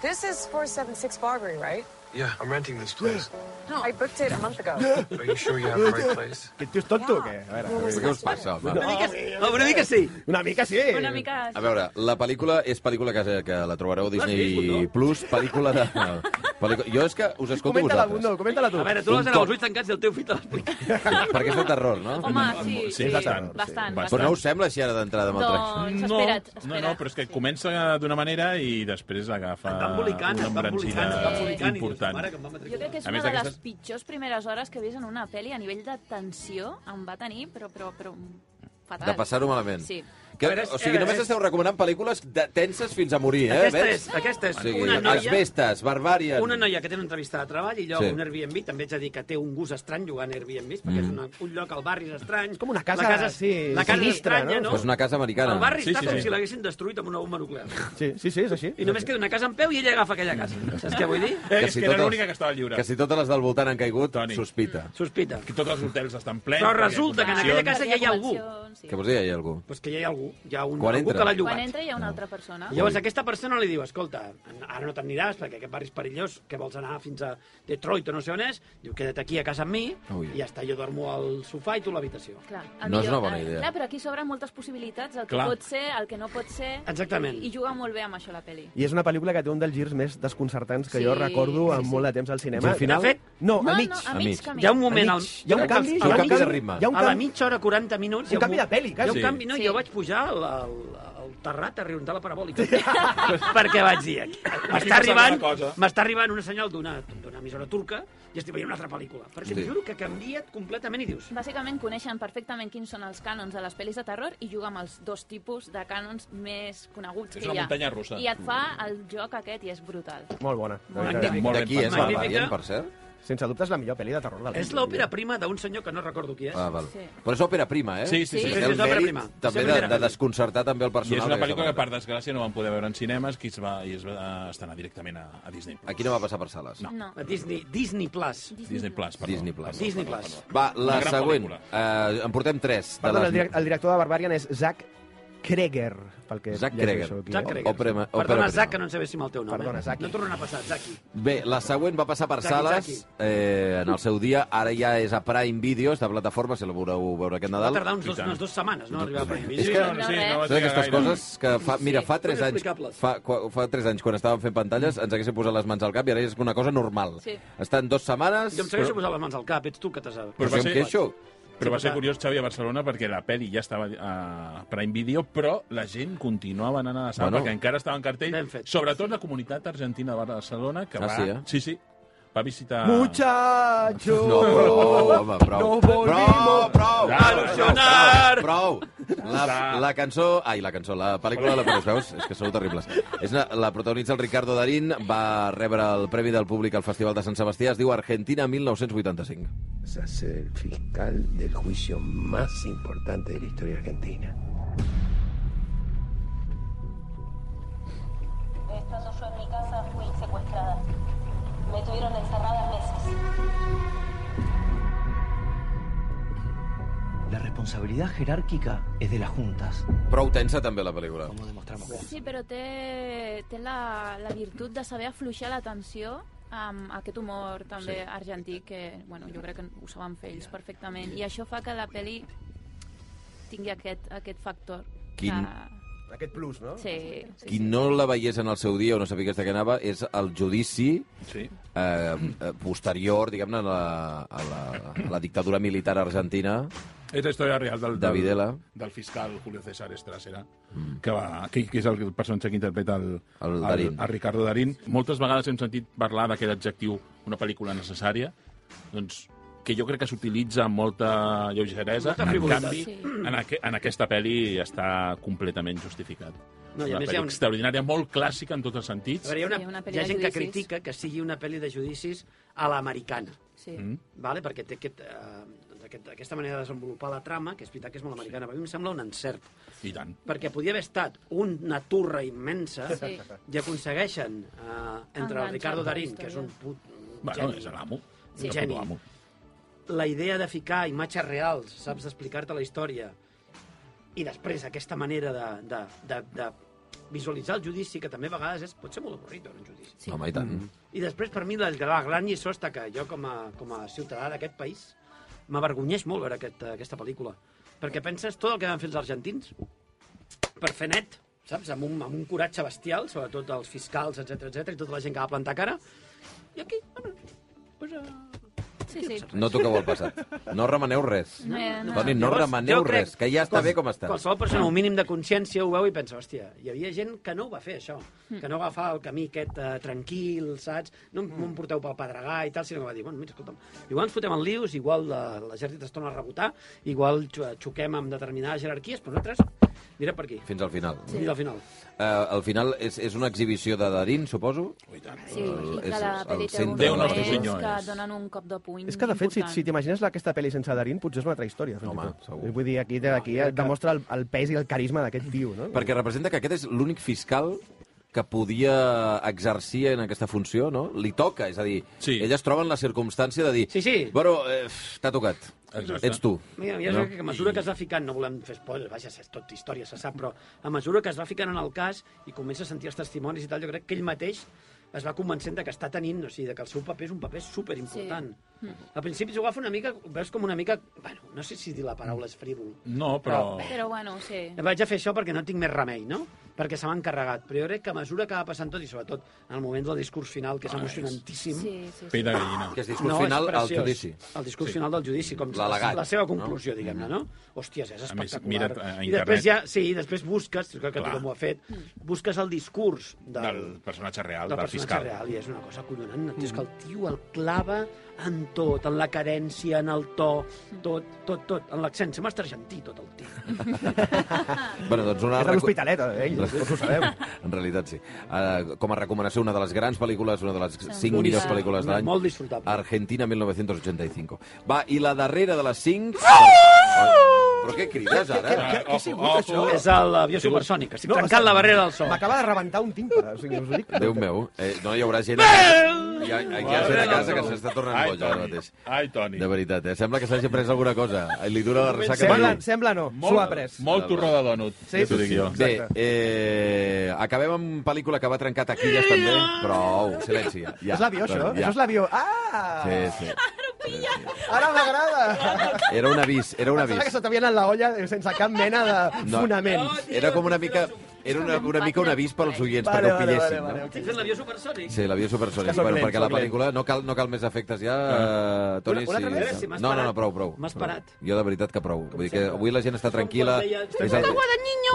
Speaker 10: This is 476 Barbary, right? Yeah, I'm renting this place.
Speaker 11: No, I booked it a month ago.
Speaker 10: Are you sure you have the right place?
Speaker 4: Que tio és tonto o què? A veure,
Speaker 1: Què us passa, home?
Speaker 7: Una mica, no, una mica sí.
Speaker 4: Una mica sí.
Speaker 5: Una mica...
Speaker 1: A veure, la pel·lícula és pel·lícula que, que la trobareu a Disney Plus, pel·lícula de... Pel·lícula... Jo és que us escolto
Speaker 4: Comenta-la,
Speaker 1: vosaltres.
Speaker 4: Bundó, comenta-la tu.
Speaker 7: A veure, tu l'has
Speaker 1: Un
Speaker 7: d'anar
Speaker 1: cop.
Speaker 7: als ulls tancats i el teu fill te l'explica.
Speaker 1: Perquè és de terror, no?
Speaker 5: Home, sí, sí, sí,
Speaker 6: bastant,
Speaker 5: bastant,
Speaker 6: sí.
Speaker 5: bastant.
Speaker 1: Però no us sembla així ara d'entrada amb Mm. el tracte?
Speaker 5: Doncs, espera't, espera't.
Speaker 6: no, no, però és que comença d'una manera i després agafa
Speaker 7: Està embolicant,
Speaker 6: una
Speaker 7: està embolicant, està embolicant.
Speaker 6: important. Eh,
Speaker 7: I dius, mare, que em va matricular.
Speaker 5: Jo crec que és
Speaker 6: A
Speaker 5: una
Speaker 6: més
Speaker 5: de les
Speaker 6: d'aquestes-
Speaker 5: pitjors primeres hores que he vist en una pel·li a nivell de tensió. Em va tenir, però, però, però fatal.
Speaker 1: De passar-ho malament.
Speaker 5: Sí.
Speaker 1: Que,
Speaker 7: A veure, és-
Speaker 1: o sigui,
Speaker 7: eh,
Speaker 1: només
Speaker 7: és-
Speaker 1: esteu recomanant pel·lícules de tenses fins a morir, eh?
Speaker 7: Aquesta
Speaker 1: Veus?
Speaker 7: és, aquesta és
Speaker 1: O sigui,
Speaker 7: una noia...
Speaker 1: Asbestes, Barbarian...
Speaker 7: Una noia que té una entrevista de treball i lloga
Speaker 1: Sí. Mm.
Speaker 7: sí. un Airbnb, també ets a dir que té un gust estrany jugar a Airbnb, perquè és una, un lloc al barri és estrany.
Speaker 4: com una casa,
Speaker 7: la casa, és-
Speaker 4: sí,
Speaker 7: la casa
Speaker 4: sinistra,
Speaker 7: és estranya,
Speaker 4: no?
Speaker 7: no?
Speaker 1: Però és una casa americana.
Speaker 7: El barri
Speaker 6: Sí,
Speaker 7: sí, està
Speaker 6: sí,
Speaker 7: sí, com
Speaker 6: sí.
Speaker 7: sí. si l'haguessin destruït amb una bomba nuclear.
Speaker 4: Sí, sí, sí, és així.
Speaker 7: I només queda una casa en peu i ella agafa aquella casa.
Speaker 1: Mm.
Speaker 7: Saps què vull dir?
Speaker 6: Eh,
Speaker 1: Que
Speaker 6: és
Speaker 1: si
Speaker 6: que era
Speaker 1: totes-
Speaker 6: l'única que estava lliure.
Speaker 1: Que si totes les del voltant han caigut,
Speaker 6: Toni.
Speaker 1: sospita.
Speaker 7: Sospita.
Speaker 6: Que tots els hotels estan plens.
Speaker 7: Però
Speaker 6: perquè
Speaker 7: resulta que en
Speaker 6: condicions-
Speaker 7: aquella casa ja hi ha algú.
Speaker 5: Sí.
Speaker 1: Què vols dir, hi ha algú?
Speaker 7: Pues que ja hi ha algú, hi ha un,
Speaker 1: Quan
Speaker 7: algú
Speaker 1: entra.
Speaker 7: que l'ha
Speaker 5: Quan
Speaker 7: llogat.
Speaker 5: entra hi ha una altra persona.
Speaker 7: Llavors aquesta persona li diu, escolta, ara no t'aniràs perquè aquest barri és perillós, que vols anar fins a Detroit o no sé on és, diu, queda't aquí a casa amb mi
Speaker 1: Ui.
Speaker 7: i ja està, jo dormo al sofà i tu a l'habitació.
Speaker 5: Clar, el
Speaker 1: No és
Speaker 5: millor-
Speaker 1: una bona
Speaker 5: el-
Speaker 1: idea.
Speaker 5: Clar, però aquí s'obren moltes possibilitats, el que
Speaker 6: Clar.
Speaker 5: pot ser, el que no pot ser...
Speaker 7: Exactament.
Speaker 5: I juga molt bé amb això la pel·li.
Speaker 4: I és una pel·lícula que té un dels girs més desconcertants que
Speaker 5: Sí,
Speaker 4: jo recordo
Speaker 5: sí,
Speaker 4: amb
Speaker 5: sí.
Speaker 4: molt de temps al cinema.
Speaker 1: Al final?
Speaker 4: De fet, no,
Speaker 5: no,
Speaker 4: a mig.
Speaker 5: No, a
Speaker 1: A mig.
Speaker 5: mig camí.
Speaker 7: Hi ha un moment... Al,
Speaker 4: Hi ha un canvi,
Speaker 1: un
Speaker 4: hi ha
Speaker 1: canvi de
Speaker 4: canvi-
Speaker 1: ritme.
Speaker 4: Hi ha un
Speaker 7: a la
Speaker 4: canvi,
Speaker 7: mitja hora, 40 minuts...
Speaker 4: un
Speaker 7: hi ha
Speaker 4: canvi de pel·li,
Speaker 7: Hi ha
Speaker 4: quasi.
Speaker 7: un canvi, no,
Speaker 5: Sí.
Speaker 7: jo vaig pujar al, al, al terrat a reuntar la parabòlica. perquè vaig dir, aquí- m'està
Speaker 6: passa
Speaker 7: arribant,
Speaker 6: alguna cosa.
Speaker 7: m'està arribant una senyal d'una d'una emissora turca i estic veient una altra pel·lícula. Perquè
Speaker 1: Sí.
Speaker 7: et juro que canvia completament i dius...
Speaker 5: Bàsicament coneixen perfectament quins són els cànons de les pel·lis de terror i juga amb els dos tipus de cànons més coneguts
Speaker 6: És
Speaker 5: que
Speaker 6: una
Speaker 5: hi ha.
Speaker 6: muntanya russa.
Speaker 5: I et fa el joc aquest i és brutal.
Speaker 4: Molt bona. de veritat.
Speaker 6: Magnífic. Molt ben
Speaker 1: D'aquí és
Speaker 6: pensat.
Speaker 1: Barbarian,
Speaker 7: Magnífica.
Speaker 1: per cert?
Speaker 4: Sense dubte és la millor pel·li de terror de l'any.
Speaker 7: És l'òpera prima d'un senyor que no recordo qui és.
Speaker 1: Ah, val.
Speaker 5: Sí.
Speaker 1: Però és òpera prima, eh?
Speaker 6: Sí, sí, sí.
Speaker 1: Té
Speaker 6: Sí, sí,
Speaker 1: el
Speaker 7: és òpera
Speaker 1: mèrit
Speaker 7: prima.
Speaker 1: També
Speaker 7: És
Speaker 1: de,
Speaker 7: òpera
Speaker 1: de
Speaker 7: prima.
Speaker 1: desconcertar també el
Speaker 6: I
Speaker 1: personal.
Speaker 6: és una
Speaker 1: d'aquesta
Speaker 6: pel·lícula que, per
Speaker 1: pel·lícula.
Speaker 6: desgràcia, no van poder veure en cinemes i es va, i es va eh, estrenar directament a, a Disney Plus.
Speaker 1: Aquí no va passar per sales.
Speaker 5: No. no.
Speaker 7: A Disney, Disney Plus.
Speaker 6: Disney Plus, perdó.
Speaker 1: Disney Plus.
Speaker 7: Disney Plus.
Speaker 1: Va, la
Speaker 6: Una gran
Speaker 1: següent.
Speaker 6: pel·lícula.
Speaker 1: Eh, en portem tres.
Speaker 4: Perdona, el,
Speaker 1: de les...
Speaker 4: direc- el director de Barbarian és Zach Kreger. Pel que
Speaker 1: Zack Kreger.
Speaker 4: llegeixo aquí. eh?
Speaker 7: Zack
Speaker 1: O-
Speaker 7: Kreger.
Speaker 1: òpera- òpera
Speaker 7: Perdona,
Speaker 1: prima.
Speaker 7: Zack, que no en sabéssim el teu nom.
Speaker 4: Perdona,
Speaker 7: eh?
Speaker 4: Zaki.
Speaker 7: No tornen a passar, Zaki.
Speaker 1: Bé, la següent va passar per
Speaker 7: Zaki,
Speaker 1: sales
Speaker 7: Zaki.
Speaker 1: eh, en el seu dia. Ara ja és a Prime Videos, de plataforma, si la veureu veure aquest
Speaker 7: Va
Speaker 1: Nadal.
Speaker 7: tardar uns dos, unes dues setmanes, no? Arribar a Prime
Speaker 1: És
Speaker 7: Video.
Speaker 1: que-
Speaker 6: no, sí, no va
Speaker 1: Són aquestes
Speaker 6: trigar gaire.
Speaker 1: coses que fa... Mira, fa 3
Speaker 7: Són
Speaker 1: anys,
Speaker 7: explicables.
Speaker 1: fa, qua- fa 3 anys, quan estàvem fent pantalles, ens haguéssim posat les mans al cap i ara és una cosa normal.
Speaker 5: Sí.
Speaker 1: Estan dues setmanes...
Speaker 7: Jo em segueixo posant les mans al cap, ets tu que t'has...
Speaker 1: Però,
Speaker 6: Però
Speaker 1: però si
Speaker 6: va
Speaker 1: em
Speaker 6: ser-
Speaker 1: queixo...
Speaker 6: Però va
Speaker 7: Sí,
Speaker 6: ser
Speaker 7: va.
Speaker 6: curiós, Xavi, a Barcelona, perquè la pel·li ja estava a Prime Video, però la gent continuava anant a la sala,
Speaker 1: Bueno.
Speaker 6: bueno, perquè encara estava en cartell,
Speaker 7: Ben fet.
Speaker 6: sobretot la comunitat argentina de Barcelona, que
Speaker 1: Ah,
Speaker 6: va...
Speaker 1: sí, eh?
Speaker 6: sí, sí, va visitar...
Speaker 4: Muchacho!
Speaker 1: No, prou, home, prou.
Speaker 4: No
Speaker 1: prou,
Speaker 4: volvimos
Speaker 1: prou,
Speaker 6: a
Speaker 1: prou, prou. La, la cançó... Ai, la cançó, la pel·lícula de la Pérez, veus? És que sou terribles. És una, la protagonitza el Ricardo Darín, va rebre el Premi del Públic al Festival de Sant Sebastià, es diu Argentina 1985.
Speaker 10: a ser el fiscal del juicio más importante de la historia argentina.
Speaker 11: Estando yo en mi casa fui secuestrada. Me tuvieron encerrada meses.
Speaker 8: La responsabilidad jerárquica es de las juntas.
Speaker 1: Prou tensa, també, la pel·lícula.
Speaker 8: Como demostramos.
Speaker 5: Sí, però té, té la, la virtut de saber afluixar la tensió amb aquest humor també sí. argentí que, bueno, jo crec que ho saben fer ells perfectament. I això fa que la pel·li tingui aquest, aquest factor.
Speaker 1: Quin-
Speaker 5: Que...
Speaker 4: Aquest plus, no?
Speaker 5: Sí, sí,
Speaker 1: Qui no la veiés en el seu dia o no sabia de què anava és el judici
Speaker 6: Sí.
Speaker 1: eh, eh, posterior, diguem-ne, a, la, a, la, a la dictadura militar argentina.
Speaker 6: És la història real del,
Speaker 1: De Videla.
Speaker 6: del, del fiscal Julio César Estrasera, mm. que, va, que, que és el personatge que interpreta el,
Speaker 1: El Darín.
Speaker 6: el Ricardo Darín. Moltes vegades hem sentit parlar d'aquest adjectiu una pel·lícula necessària, doncs que jo crec que s'utilitza amb molta lleugeresa,
Speaker 7: Molta
Speaker 6: en
Speaker 7: frivolitat.
Speaker 6: canvi,
Speaker 5: Sí.
Speaker 6: en, aqu en aquesta pel·li està completament justificat.
Speaker 7: No, i a
Speaker 6: una
Speaker 7: més hi
Speaker 6: pel·li
Speaker 7: ha un-
Speaker 6: extraordinària, molt clàssica en tots els
Speaker 7: A
Speaker 6: sentits.
Speaker 7: veure, hi ha,
Speaker 5: Sí,
Speaker 7: una,
Speaker 5: una pel·li
Speaker 7: hi ha
Speaker 5: de
Speaker 7: gent que
Speaker 5: judicis.
Speaker 7: critica que sigui una pel·li de judicis a l'americana,
Speaker 5: sí.
Speaker 6: Mm.
Speaker 7: vale? perquè té aquest, eh, doncs aquest, aquesta manera de desenvolupar la trama, que és veritat que és molt americana, però a mi em sembla un encert,
Speaker 6: I tant.
Speaker 7: perquè podia haver estat una turra immensa
Speaker 5: Sí.
Speaker 7: i aconsegueixen, eh, entre
Speaker 5: Enganxar tota
Speaker 7: el Ricardo
Speaker 5: la
Speaker 7: Darín, que
Speaker 5: història.
Speaker 7: és un put... un
Speaker 6: Bueno,
Speaker 7: geni,
Speaker 6: és l'amo.
Speaker 7: Sí,
Speaker 6: És el
Speaker 7: geni.
Speaker 6: puto amo.
Speaker 7: la idea de ficar imatges reals, saps, d'explicar-te la història, i després aquesta manera de, de, de, de visualitzar el judici, que també a vegades és, pot ser molt avorrit veure un judici.
Speaker 1: Sí. Home, i tant. Mm.
Speaker 7: I després, per mi, la, la gran lliçó està que jo, com a, com a ciutadà d'aquest país, m'avergonyeix molt veure aquest, aquesta pel·lícula. Perquè penses tot el que van fer els argentins per fer net, saps? Amb un, amb un coratge bestial, sobretot els fiscals, etc etc i tota la gent que va plantar cara. I aquí, home, pues, uh,
Speaker 5: Sí, sí.
Speaker 1: No toqueu el passat. No remeneu res.
Speaker 5: No, no.
Speaker 1: Toni, no
Speaker 7: Llavors,
Speaker 1: remeneu
Speaker 7: jo crec-
Speaker 1: res, que ja està
Speaker 7: quals-
Speaker 1: bé com està.
Speaker 7: Qualsevol persona amb un mínim de consciència ho veu i pensa, hòstia, hi havia gent que no ho va fer, això. Que no va agafar el camí aquest eh, tranquil, saps? No em, no em porteu pel pedregar i tal, sinó que va dir, bueno, mira, escolta'm, igual ens fotem en lius, igual la, la Gerrit es torna a rebotar, igual xo- xoquem amb determinades jerarquies, però nosaltres anirem per aquí.
Speaker 1: Fins al final.
Speaker 7: Sí. Fins al final.
Speaker 1: Eh, al final és, és una exhibició de Darín, suposo?
Speaker 5: Sí, i que
Speaker 1: és
Speaker 5: la
Speaker 1: el
Speaker 5: pel·li té
Speaker 1: centre
Speaker 5: un
Speaker 1: de la
Speaker 5: moments
Speaker 1: pel·lícula. Déu
Speaker 5: que
Speaker 1: nostre
Speaker 5: et donen un cop de puny
Speaker 4: És que, de fet, si,
Speaker 5: important.
Speaker 4: si t'imagines la- aquesta pel·li sense Darín, potser és una altra història. fins i
Speaker 1: Home,
Speaker 4: tot.
Speaker 1: segur.
Speaker 4: Vull dir, aquí, aquí et demostra el, el pes i el carisma d'aquest tio, no?
Speaker 1: Perquè representa que aquest és l'únic fiscal que podia exercir en aquesta funció, no? Li toca, és a dir, sí. ell es troba en la circumstància de dir...
Speaker 7: Sí, sí.
Speaker 1: Bueno, eh, t'ha tocat.
Speaker 7: Exacte.
Speaker 1: Ets tu.
Speaker 7: Mira, ja no? que a mesura que es va ficant, no volem fer spoilers, vaja, és tot història, se sap, però a mesura que es va ficant en el cas i comença a sentir els testimonis i tal, jo crec que ell mateix es va convencent de que està tenint, o sigui, de que el seu paper és un paper superimportant. Sí. Al principi s'ho agafa una mica, ho veus com una mica... Bueno, no sé si dir la paraula és frívol.
Speaker 6: No, però-
Speaker 5: Però bueno, sí.
Speaker 7: Vaig a fer això perquè no tinc més remei, no? Perquè se m'ha encarregat. Però jo crec que a mesura que va passant tot, i sobretot en el moment del discurs final, que és emocionantíssim...
Speaker 5: Sí, sí,
Speaker 6: Pell de gallina.
Speaker 1: Que és discurs final al
Speaker 7: preciós.
Speaker 1: judici.
Speaker 7: El discurs
Speaker 1: Sí.
Speaker 7: final del judici, com la,
Speaker 1: L'al·legat,
Speaker 7: la seva
Speaker 1: no? Mm-hmm.
Speaker 7: conclusió, no? diguem-ne, no? Hòsties, és
Speaker 6: A més,
Speaker 7: espectacular.
Speaker 6: mira't a
Speaker 7: I després ja,
Speaker 6: internet.
Speaker 7: sí, i després busques, crec que
Speaker 6: Clar.
Speaker 7: tothom ho ha fet, busques el discurs del,
Speaker 6: Del personatge real,
Speaker 7: del
Speaker 6: del
Speaker 7: personatge
Speaker 6: fiscal.
Speaker 7: real, i és una cosa acollonant. Mm. És que el tio el clava en tot, en la carència, en el to, tot, tot, tot, en l'accent. Sembla estar argentí, tot el tio.
Speaker 1: Bueno, doncs una...
Speaker 4: És de l'Hospitalet, eh, ell, tots ho sabeu.
Speaker 1: en realitat, sí. Uh, com a recomanació, una de les grans pel·lícules, una de les cinc millors
Speaker 7: Boníssima.
Speaker 1: pel·lícules de l'any.
Speaker 7: Molt disfrutable.
Speaker 1: Argentina, 1985. Va, i la darrera de les cinc... Oh! Però què crides, ara?
Speaker 4: Què, què ha sigut, això?
Speaker 7: És l'avió supersònic, estic trencant la barrera del so.
Speaker 4: M'acaba de rebentar un timbre, o sigui, us ho dic.
Speaker 1: Déu meu, eh, no hi haurà gent... Hi ha, aquí hi ha gent a casa que s'està tornant
Speaker 6: Ai,
Speaker 1: boja ara
Speaker 6: Toni.
Speaker 1: mateix.
Speaker 6: Ai, Toni.
Speaker 1: De veritat, eh? Sembla que s'hagi pres alguna cosa. Eh, Li dura la ressaca.
Speaker 4: Sembla,
Speaker 1: de dir.
Speaker 4: sembla no, s'ho ha pres.
Speaker 6: Molt torró de donut,
Speaker 4: Sí,
Speaker 6: ja t'ho
Speaker 4: sí,
Speaker 6: dic
Speaker 4: sí,
Speaker 6: jo.
Speaker 1: Bé, eh, acabem amb pel·lícula que va trencar taquilles també. Prou, silenci. Ja, ja.
Speaker 4: És l'avió, això?
Speaker 1: Ja.
Speaker 4: Això és l'avió. Ah!
Speaker 1: Sí, sí.
Speaker 4: Ara m'agrada!
Speaker 1: Era un avís, era un
Speaker 4: Pensava que
Speaker 1: avís.
Speaker 4: se t'havien en la olla sense cap mena de
Speaker 1: No.
Speaker 4: fonament.
Speaker 1: Era com una mica... Era una, una mica un avís per als oients, perquè ho pillessin, no?
Speaker 7: Estic fent l'avió supersònic.
Speaker 1: Sí, l'avió supersònic.
Speaker 4: És que són
Speaker 1: Bueno,
Speaker 4: lents,
Speaker 1: perquè la
Speaker 4: són lents.
Speaker 1: pel·lícula no cal, no cal més efectes ja, eh, Toni.
Speaker 4: Una- una altra vegada,
Speaker 7: si m'has
Speaker 1: no, no, no,
Speaker 7: parat.
Speaker 1: prou, prou.
Speaker 7: M'has
Speaker 1: prou.
Speaker 7: parat.
Speaker 1: Jo de veritat que prou. Vull dir que avui la gent està tranquil·la.
Speaker 7: quan deia-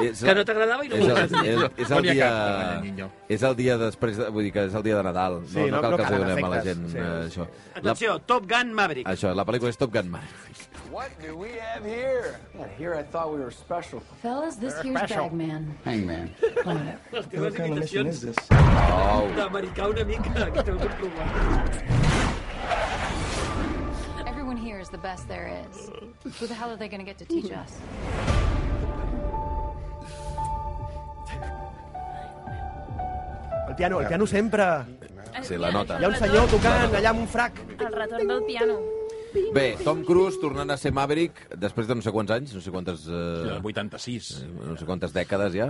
Speaker 1: és
Speaker 7: Que no t'agradava i no
Speaker 1: és el,
Speaker 7: m'agrada.
Speaker 1: és, és
Speaker 6: No
Speaker 1: el
Speaker 6: n'hi ha
Speaker 1: dia...
Speaker 6: cap, no, niño.
Speaker 1: És el dia després... De, vull dir que és el dia de Nadal. No,
Speaker 4: Sí,
Speaker 1: no,
Speaker 4: no-
Speaker 1: cal
Speaker 4: no
Speaker 1: que els
Speaker 4: calen
Speaker 1: donem a la gent
Speaker 4: efectes. Sí,
Speaker 1: eh,
Speaker 4: sí.
Speaker 1: això. La,
Speaker 7: Atenció, Top Gun Maverick.
Speaker 1: això, la pel·lícula és Top Gun Maverick.
Speaker 12: What do we have here? here I thought we were special.
Speaker 13: Fellas, this here's Bagman.
Speaker 14: Hangman.
Speaker 7: Les teves imitacions
Speaker 15: this?
Speaker 7: d'americà una mica, que t'ho vull provar.
Speaker 13: Everyone here is the best there is. Who the hell are they going to get to teach us?
Speaker 4: El piano, el piano sempre.
Speaker 5: Eh,
Speaker 1: Sí, la nota.
Speaker 4: Hi ha un senyor tocant allà amb un frac.
Speaker 5: El retorn del piano.
Speaker 1: Bé, Tom Cruise tornant a ser Maverick després de no sé quants anys, no sé quantes... Eh,
Speaker 6: 86.
Speaker 1: no sé quantes dècades ja,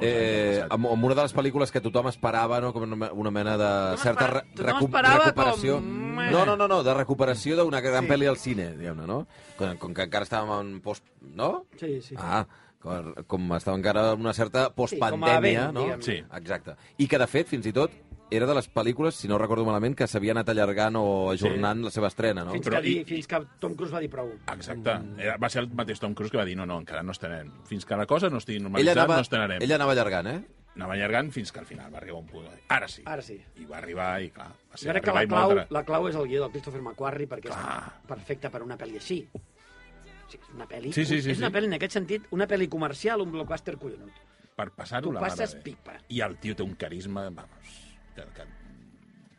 Speaker 1: eh,
Speaker 6: anys,
Speaker 1: amb, amb una de les pel·lícules que tothom esperava, no? com una, una mena de certa
Speaker 7: espera-
Speaker 1: re-
Speaker 7: tothom
Speaker 1: recu-
Speaker 7: esperava
Speaker 1: recuperació...
Speaker 7: com-
Speaker 1: No, no, no, no, de recuperació d'una gran sí. pel·li al cine, diguem-ne, no? Com, com que encara estàvem en post... No?
Speaker 7: Sí, sí.
Speaker 1: Ah, com, com estava encara en una certa
Speaker 7: Sí,
Speaker 1: postpandèmia,
Speaker 7: com a vent,
Speaker 1: no?
Speaker 7: diguem-ne.
Speaker 6: Sí.
Speaker 1: Exacte. I que, de fet, fins i tot, era de les pel·lícules, si no recordo malament, que s'havia anat allargant o ajornant sí. la seva estrena, no?
Speaker 7: Fins,
Speaker 6: Però
Speaker 7: que, di,
Speaker 6: i-
Speaker 7: fins que Tom Cruise va dir prou.
Speaker 6: Exacte.
Speaker 4: Mm.
Speaker 6: Era, va ser el mateix Tom Cruise que va dir no, no, encara no estrenem. Fins que la cosa no estigui
Speaker 1: Ella
Speaker 6: normalitzada,
Speaker 1: anava,
Speaker 6: no estrenarem.
Speaker 1: ella anava allargant, eh?
Speaker 6: Anava allargant fins que al final va arribar un punt. de dir, Ara sí.
Speaker 7: Ara sí.
Speaker 6: I va arribar i, clar, va
Speaker 7: Sí,
Speaker 6: ser
Speaker 7: jo crec que
Speaker 6: arribar
Speaker 7: la
Speaker 6: i
Speaker 7: clau,
Speaker 6: moldre.
Speaker 7: la clau és el guió del Christopher McQuarrie perquè
Speaker 6: eh? Clar.
Speaker 7: és perfecte per una pel·li així. O sigui, és una pel·li,
Speaker 6: Sí, sí, sí,
Speaker 7: és una
Speaker 6: sí.
Speaker 7: pel·li, en aquest sentit, una pel·li comercial, un blockbuster collonut.
Speaker 6: Per passar-ho
Speaker 7: Tu
Speaker 6: la mare.
Speaker 7: passes
Speaker 6: de-
Speaker 7: pipa.
Speaker 6: I el tio té un carisma, vamos, que, que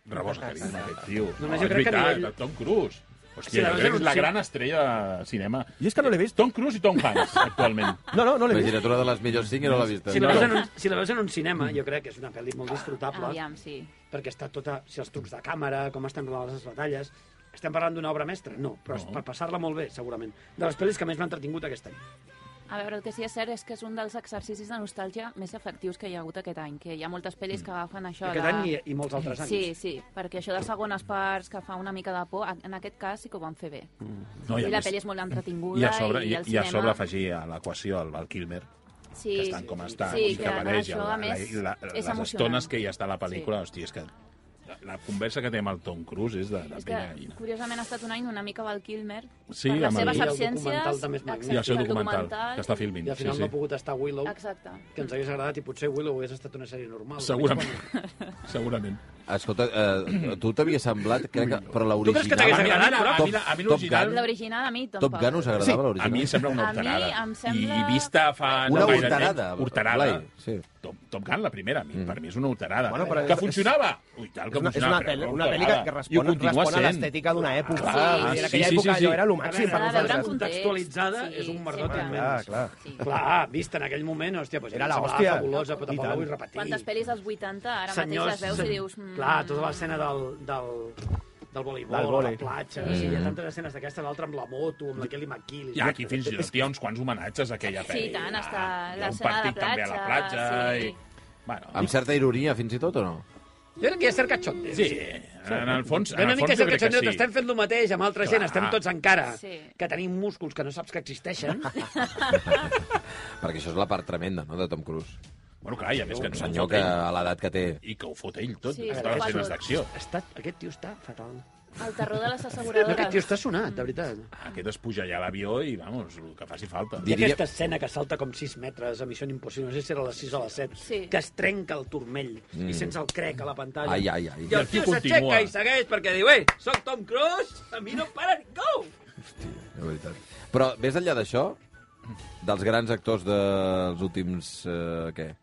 Speaker 6: rebosa carisma, aquest tio.
Speaker 7: Només
Speaker 6: No,
Speaker 7: jo
Speaker 6: és
Speaker 7: crec que a
Speaker 6: veritat,
Speaker 7: nivell-
Speaker 6: el Tom Cruise.
Speaker 7: Sí,
Speaker 6: Hòstia,
Speaker 7: la
Speaker 6: jo
Speaker 7: veritat
Speaker 6: crec que és la
Speaker 7: sí.
Speaker 6: gran estrella de cinema. Eh,
Speaker 4: Jo és que no l'he vist.
Speaker 6: Tom Cruise i Tom Hanks, actualment.
Speaker 4: No, no, no l'he vist.
Speaker 1: Imagina't, una de les millors cinc i no l'ha vista.
Speaker 7: Si la, veus en un, si la veus en un cinema,
Speaker 6: Mm.
Speaker 7: jo crec que és una pel·li molt disfrutable,
Speaker 5: Aviam, sí.
Speaker 7: perquè està tota... Si els trucs de càmera, com estan rodades les batalles... Estem parlant d'una obra mestra? No, però no. per passar-la molt bé, segurament. De les pel·lis que més m'han entretingut aquest any.
Speaker 5: A veure, el que sí que és cert és que és un dels exercicis de nostàlgia més efectius que hi ha hagut aquest any, que hi ha moltes pel·lis
Speaker 4: Mm.
Speaker 5: que agafen això...
Speaker 7: Aquest
Speaker 5: de...
Speaker 7: any i- i molts altres anys.
Speaker 5: Sí, sí, perquè això de segones parts que fa una mica de por, en aquest cas sí que ho van fer bé. Mm.
Speaker 6: No,
Speaker 5: No,
Speaker 6: i a
Speaker 5: I la
Speaker 6: més-
Speaker 5: pel·li és molt entretinguda
Speaker 6: I a sobre, i,
Speaker 5: i el
Speaker 6: i a
Speaker 5: cinema...
Speaker 6: sobre afegir a l'equació el Val Kilmer,
Speaker 5: sí,
Speaker 6: que estan com estan,
Speaker 5: sí,
Speaker 6: i que,
Speaker 5: que ara
Speaker 6: maneja
Speaker 5: això,
Speaker 6: la,
Speaker 5: a més,
Speaker 6: la, la,
Speaker 5: és
Speaker 6: les
Speaker 5: emocionant.
Speaker 6: estones que hi està a la pel·lícula. Sí. Hòstia, és que la, la conversa que té amb el Tom Cruise és de, de
Speaker 5: És que,
Speaker 6: penya gallina.
Speaker 5: curiosament, ha estat un any una mica Val Kilmer
Speaker 6: Sí,
Speaker 5: per les
Speaker 6: amb el-
Speaker 5: seves
Speaker 6: I el
Speaker 5: absències.
Speaker 7: documental també és magnífic.
Speaker 6: I el seu
Speaker 5: i el
Speaker 6: documental,
Speaker 5: documental,
Speaker 6: que està filmint.
Speaker 7: I al final
Speaker 6: sí,
Speaker 7: no
Speaker 6: sí.
Speaker 7: ha pogut estar Willow,
Speaker 5: Exacte.
Speaker 7: que ens hagués agradat, i potser Willow hagués estat una sèrie normal.
Speaker 6: Segurament. Segurament.
Speaker 1: Escolta, eh, a tu t'havia semblat, crec que, però l'original...
Speaker 6: creus que t'hagués agradat, Ara, a mi la- a mi
Speaker 1: Top- Top
Speaker 6: l'original-
Speaker 1: Gun-
Speaker 5: L'original a mi tampoc.
Speaker 1: Top Gun us agradava,
Speaker 6: A
Speaker 1: l'original?
Speaker 6: mi em sembla una
Speaker 5: A mi
Speaker 6: horterada.
Speaker 5: em sembla-
Speaker 6: I, I vista fa...
Speaker 1: Una
Speaker 6: no gaire
Speaker 1: horterada,
Speaker 6: temps, Horterada.
Speaker 1: Blai, sí.
Speaker 6: Top, Top Gun, la primera, a mi, per mi és una horterada.
Speaker 4: Mm. Bueno, però
Speaker 6: que
Speaker 4: és-
Speaker 6: funcionava! Ui, tal, que
Speaker 4: És una, és
Speaker 6: funcionava,
Speaker 4: una,
Speaker 6: però
Speaker 4: pel·li,
Speaker 6: era
Speaker 4: una pel·li que,
Speaker 6: horterada.
Speaker 4: que
Speaker 6: I ho
Speaker 4: respon,
Speaker 6: continua
Speaker 4: respon a
Speaker 6: sent.
Speaker 4: l'estètica d'una època. Ah, sí,
Speaker 6: clar, sí,
Speaker 4: en aquella
Speaker 6: sí,
Speaker 4: època
Speaker 6: sí, sí.
Speaker 4: allò era el màxim per
Speaker 5: veure, a veure,
Speaker 4: nosaltres.
Speaker 7: contextualitzada
Speaker 5: Sí,
Speaker 7: és un
Speaker 5: sí,
Speaker 7: merdot
Speaker 5: clar.
Speaker 7: immens.
Speaker 4: Ah, Clar,
Speaker 5: Sí.
Speaker 7: Clar, vist en aquell moment, hòstia, doncs
Speaker 4: Era
Speaker 7: em
Speaker 4: la
Speaker 7: semblava
Speaker 4: hòstia.
Speaker 7: fabulosa, però
Speaker 4: I
Speaker 7: tampoc
Speaker 4: tant.
Speaker 7: la vull repetir.
Speaker 5: Quantes pel·lis dels 80 ara
Speaker 7: Senyors,
Speaker 5: mateix les veus i dius... Mm,
Speaker 7: Clar, tota l'escena del, del, del voleibol,
Speaker 4: Del
Speaker 7: del
Speaker 4: vòlei.
Speaker 7: la platja, mm. sí, hi ha tantes escenes d'aquestes, l'altra amb la moto, amb la Kelly McKill.
Speaker 6: I aquí fins i tot hi ha uns quants homenatges a aquella pel·li.
Speaker 5: Sí, tant, està
Speaker 6: Hi ha un
Speaker 5: l'escena de la
Speaker 6: partit també a la
Speaker 5: platja,
Speaker 6: platja.
Speaker 5: sí.
Speaker 6: I... Bueno,
Speaker 1: Amb certa ironia, fins i tot, o no?
Speaker 7: Jo crec que hi ha cert catxonde.
Speaker 6: Sí, en el fons,
Speaker 7: Ve
Speaker 6: en
Speaker 7: una
Speaker 6: el
Speaker 7: mica
Speaker 6: fons
Speaker 7: és
Speaker 6: jo
Speaker 7: el que
Speaker 6: crec que
Speaker 7: ens
Speaker 6: sí.
Speaker 7: estem fent el mateix amb altra
Speaker 6: Clar.
Speaker 7: gent, estem tots encara,
Speaker 5: Sí.
Speaker 7: que tenim músculs que no saps que existeixen.
Speaker 1: Perquè això és la part tremenda, no?, de Tom Cruise.
Speaker 6: Bueno, clar, i a més que
Speaker 1: Un
Speaker 6: ens ho
Speaker 1: senyor
Speaker 6: fot
Speaker 1: que,
Speaker 6: ell.
Speaker 1: a l'edat que té...
Speaker 6: I que ho fot ell tot,
Speaker 5: Sí,
Speaker 6: sí,
Speaker 5: ho
Speaker 6: totes les
Speaker 5: fa
Speaker 6: escenes
Speaker 5: tot.
Speaker 6: d'acció.
Speaker 7: Està, aquest tio està fatal.
Speaker 5: El terror de les
Speaker 7: No, aquest tio
Speaker 5: asseguradores.
Speaker 7: està sonat, de veritat.
Speaker 6: Aquest es puja allà a l'avió i, vamos, el que faci falta.
Speaker 7: Hi ha
Speaker 1: Diria-
Speaker 7: aquesta escena que salta com 6 metres a Missió Impossible, no sé si era a les 6 o a les 7,
Speaker 5: Sí.
Speaker 7: que es trenca el turmell mm. i sents el crec a la pantalla.
Speaker 1: Ai, ai, ai.
Speaker 7: I el
Speaker 6: I
Speaker 7: tio
Speaker 6: el tio continua.
Speaker 7: s'aixeca i segueix perquè diu, ei, soc Tom Cruise, a mi no para ningú.
Speaker 1: De veritat. Però, més enllà d'això, dels grans actors dels últims... Eh, què?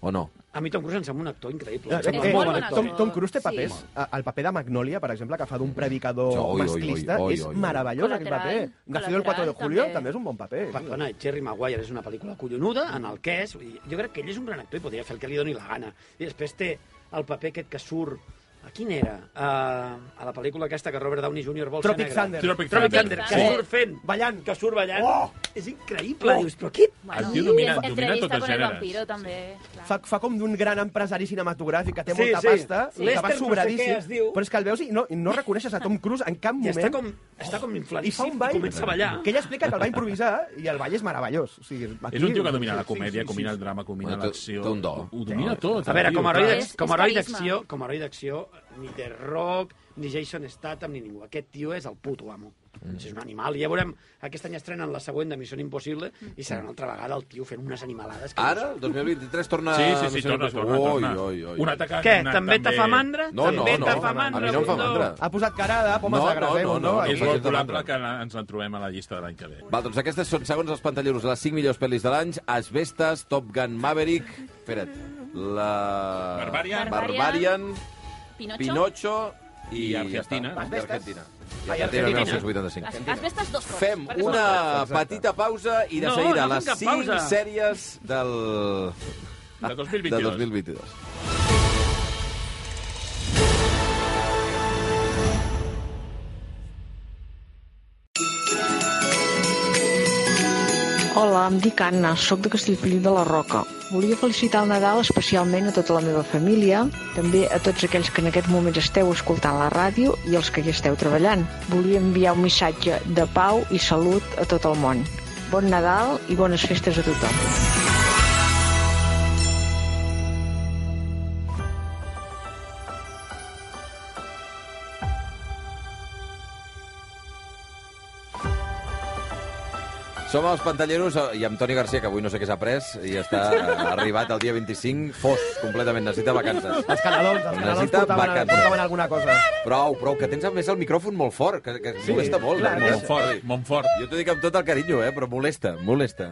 Speaker 1: O no?
Speaker 7: A mi Tom Cruise em sembla un actor increïble.
Speaker 4: Eh,
Speaker 7: Em sembla
Speaker 4: eh,
Speaker 7: molt bon
Speaker 5: bona
Speaker 7: actor.
Speaker 4: Tom, Tom Cruise té
Speaker 5: Sí.
Speaker 4: papers. Eh, El paper de Magnolia, per exemple, que fa d'un predicador
Speaker 1: Oi, oi, oi,
Speaker 4: masclista,
Speaker 1: oi, oi,
Speaker 4: és
Speaker 1: oi.
Speaker 4: meravellós aquest paper.
Speaker 5: Col·lateral,
Speaker 4: Nacido el 4 de
Speaker 5: col·lateral,
Speaker 4: julio
Speaker 5: també.
Speaker 4: també és un bon paper.
Speaker 7: Perdona, Jerry Maguire és una pel·lícula collonuda en el que és... Vull dir, Jo crec que ell és un gran actor i podria fer el que li doni la gana. I després té el paper aquest que surt... A quin era? Uh, a la pel·lícula aquesta que Robert Downey Jr. vol
Speaker 4: Tropic
Speaker 7: ser negre.
Speaker 4: Thunder.
Speaker 6: Tropic
Speaker 7: Tropic
Speaker 6: Thunder.
Speaker 7: Thunder,
Speaker 5: Sí.
Speaker 7: que surt fent...
Speaker 4: Ballant.
Speaker 7: Que surt ballant. Oh! És increïble, dius, però qui...
Speaker 6: El tio domina- domina
Speaker 5: Entrevista
Speaker 6: tots els
Speaker 5: con el
Speaker 6: gèneres.
Speaker 5: vampiro, també. clar.
Speaker 4: Fa, fa com d'un gran empresari cinematogràfic que té
Speaker 7: Sí,
Speaker 4: molta
Speaker 7: sí.
Speaker 4: pasta,
Speaker 7: Sí.
Speaker 4: que va
Speaker 7: Lester no sé
Speaker 4: sobradíssim,
Speaker 7: què es diu.
Speaker 4: però és que el veus i no, i no reconeixes a Tom Cruise en cap
Speaker 7: I
Speaker 4: moment.
Speaker 7: està com, està com
Speaker 4: Oh. I fa
Speaker 7: inflancible,
Speaker 4: un ball
Speaker 7: comença a ballar.
Speaker 4: que ell explica que el va improvisar i el ball és meravellós. O sigui,
Speaker 6: És un tio que domina la comèdia, combina el drama, combina
Speaker 1: Bueno, té-
Speaker 6: l'acció...
Speaker 1: té un do.
Speaker 6: Ho domina tot.
Speaker 7: A veure,
Speaker 6: el tio,
Speaker 7: com a heroi
Speaker 6: clar.
Speaker 7: d'ac-
Speaker 5: És-
Speaker 7: com
Speaker 5: és
Speaker 7: a heroi
Speaker 5: carisma.
Speaker 7: d'acció, com a heroi d'acció, ni The Rock, ni Jason Statham, ni ningú. Aquest tio és el puto amo. Mm. És un animal. I ja veurem, aquest any estrenen la següent de Missió Impossible i serà una altra vegada el tio fent unes animalades. Que
Speaker 1: Ara, el 2023, torna...
Speaker 6: Sí, sí, sí,
Speaker 1: Missió
Speaker 6: torna,
Speaker 1: Impossible.
Speaker 6: torna, torna.
Speaker 1: Ah, Oi, oi, oi.
Speaker 6: Un atac a-
Speaker 7: Què? També te fa mandra?
Speaker 1: No, no,
Speaker 7: També
Speaker 1: no.
Speaker 7: te fa
Speaker 1: A
Speaker 7: mandra,
Speaker 1: mi no em fa
Speaker 7: Bundó.
Speaker 1: mandra.
Speaker 4: Ha posat cara de pomes
Speaker 1: No,
Speaker 4: no, agres,
Speaker 1: no,
Speaker 4: eh,
Speaker 1: no,
Speaker 4: Bundó?
Speaker 1: no,
Speaker 4: Aquí.
Speaker 6: És molt
Speaker 1: Exacte.
Speaker 6: probable que la, ens en trobem a la llista de l'any que ve.
Speaker 1: Val, doncs aquestes són, segons els pantalleros, les 5 millors pel·lis de l'any. Asbestas, Top Gun Maverick... Espera't. La...
Speaker 6: Barbarian.
Speaker 1: Barbarian,
Speaker 5: Pinocho.
Speaker 1: Pinocho i...
Speaker 6: I Argentina,
Speaker 1: Ja està.
Speaker 6: no?
Speaker 1: I Argentina. I Argentina,
Speaker 5: Has,
Speaker 1: 1985.
Speaker 5: has vist dos cops.
Speaker 1: Fem
Speaker 5: perquè
Speaker 1: una
Speaker 5: són-
Speaker 1: petita pausa i de
Speaker 7: No,
Speaker 1: seguida
Speaker 7: no fem
Speaker 1: les
Speaker 7: cap
Speaker 1: 5
Speaker 7: pausa.
Speaker 1: sèries del...
Speaker 6: De 2022.
Speaker 1: De 2022.
Speaker 10: Hola, em dic Anna, sóc de Castellfollit de la Roca. Volia felicitar el Nadal especialment a tota la meva família, també a tots aquells que en aquest moment esteu escoltant la ràdio i els que hi esteu treballant. Volia enviar un missatge de pau i salut a tot el món. Bon Nadal i bones festes a tothom.
Speaker 1: Som els pantalleros eh, i amb Toni Garcia, que avui no sé què s'ha pres, i està eh, arribat el dia 25, fos, completament, necessita vacances.
Speaker 4: Els canelons, els canelons
Speaker 1: Necessita
Speaker 4: portaven,
Speaker 1: vacances.
Speaker 4: portaven alguna cosa.
Speaker 1: Prou, prou, que tens a més el micròfon molt fort, que, que sí, molesta molt.
Speaker 4: clar,
Speaker 1: eh?
Speaker 6: Montfort, Montfort.
Speaker 1: Jo t'ho dic amb tot el carinyo, eh, però molesta, molesta.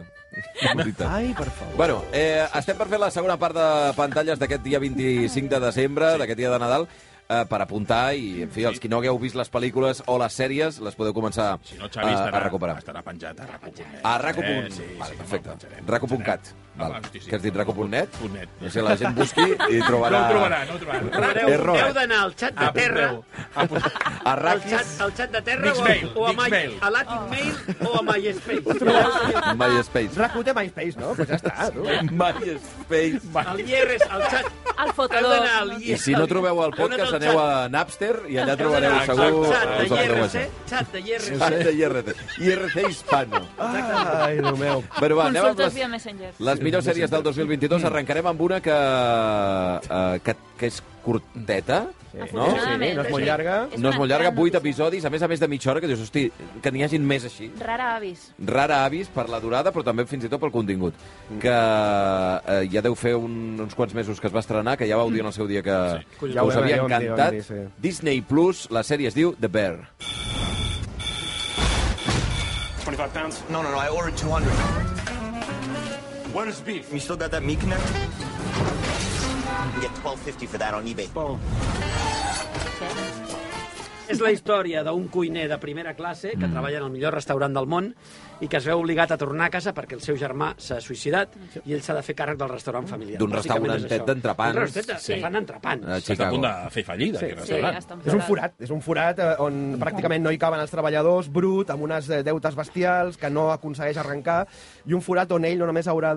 Speaker 1: Molesta.
Speaker 4: Ai, per favor.
Speaker 1: Bueno, eh, estem per fer la segona part de pantalles d'aquest dia 25 de desembre, d'aquest dia de Nadal. eh, per apuntar i, en fi, els qui no hagueu vist les pel·lícules o les sèries les podeu començar
Speaker 6: si no, Xavi, estarà,
Speaker 1: Ah, a, a recuperar.
Speaker 6: Estarà penjat a raco.net.
Speaker 1: A raco.
Speaker 6: Eh, sí,
Speaker 1: vale,
Speaker 6: sí,
Speaker 1: perfecte.
Speaker 6: no, penjarem,
Speaker 1: Raco.cat.
Speaker 6: penjarem.
Speaker 1: Val.
Speaker 6: Ah, hosti, sí.
Speaker 1: Què has dit, raco.net?
Speaker 6: Punt net.
Speaker 1: No sé, la gent busqui i trobarà...
Speaker 6: No ho trobarà, no ho trobarà.
Speaker 7: Heu,
Speaker 1: Error.
Speaker 7: heu d'anar al xat de
Speaker 6: Ah,
Speaker 7: terra,
Speaker 6: Apunteu. Apunteu.
Speaker 1: A
Speaker 7: al
Speaker 1: raquis...
Speaker 7: xat, al xat de terra o,
Speaker 6: Mixmail,
Speaker 7: a, o a, my,
Speaker 6: Mixmail.
Speaker 7: a Latin Mail o a MySpace.
Speaker 1: MySpace.
Speaker 4: Rakuten MySpace, no? Pues ja està, tu.
Speaker 1: MySpace.
Speaker 7: El IRS, el xat...
Speaker 5: El
Speaker 7: Heu
Speaker 5: fotador.
Speaker 7: d'anar al IRS.
Speaker 1: I si no trobeu el podcast,
Speaker 7: Heu d'anar al
Speaker 1: aneu a Napster i allà trobareu
Speaker 7: xat-
Speaker 1: segur...
Speaker 7: al Xat
Speaker 1: us el
Speaker 7: de IRC,
Speaker 1: trobeu.
Speaker 7: xat de IRC.
Speaker 1: Xat de IRC. IRC Hispano.
Speaker 4: Ai, Déu meu.
Speaker 1: Però va, anem amb
Speaker 5: Consultes
Speaker 1: les...
Speaker 5: via Messenger.
Speaker 1: Les millors sèries del 2022 arrencarem amb una que, eh, que, que és curteta, no?
Speaker 5: Afortunadament.
Speaker 4: Sí, no és molt llarga.
Speaker 5: És
Speaker 1: No és
Speaker 5: una
Speaker 1: molt llarga,
Speaker 5: gran
Speaker 1: 8
Speaker 5: notícia.
Speaker 1: episodis, a més a més de mitja hora, que dius, hosti, que n'hi hagin més així.
Speaker 5: Rara avis.
Speaker 1: Rara avis per la durada, però també fins i tot pel contingut.
Speaker 4: Mm.
Speaker 1: Que eh, ja deu fer un, uns quants mesos que es va estrenar, que ja vau dir en el seu dia que, que
Speaker 4: Ja ho
Speaker 1: us
Speaker 4: vam
Speaker 1: havia
Speaker 4: dir, ho vam dir, ho vam
Speaker 1: encantat.
Speaker 4: dir, sí.
Speaker 1: Disney Plus, la sèrie es diu The Bear.
Speaker 10: No, no, no, I ordered 200. Where's beef? You still got that meat connect? You get 12.50 for that on eBay.
Speaker 7: És la història d'un cuiner de primera classe
Speaker 4: Mm.
Speaker 7: que treballa en el millor restaurant del món i que es veu obligat a tornar a casa perquè el seu germà s'ha suïcidat i ell s'ha de fer càrrec del restaurant familiar.
Speaker 1: D'un
Speaker 7: Bàsicament és
Speaker 1: restaurantet
Speaker 7: això.
Speaker 1: d'entrepans.
Speaker 7: Un restaurantet
Speaker 6: Sí. Eh,
Speaker 7: sí. fan entrepans.
Speaker 1: A
Speaker 6: Està a punt
Speaker 1: Chicago.
Speaker 6: de fer fallida,
Speaker 7: Sí,
Speaker 6: aquest
Speaker 5: Sí,
Speaker 6: restaurant.
Speaker 5: està
Speaker 4: És un forat, és un forat eh, on pràcticament no hi caben els treballadors, brut, amb unes eh, deutes bestials, que no aconsegueix arrencar, i un forat on ell no només haurà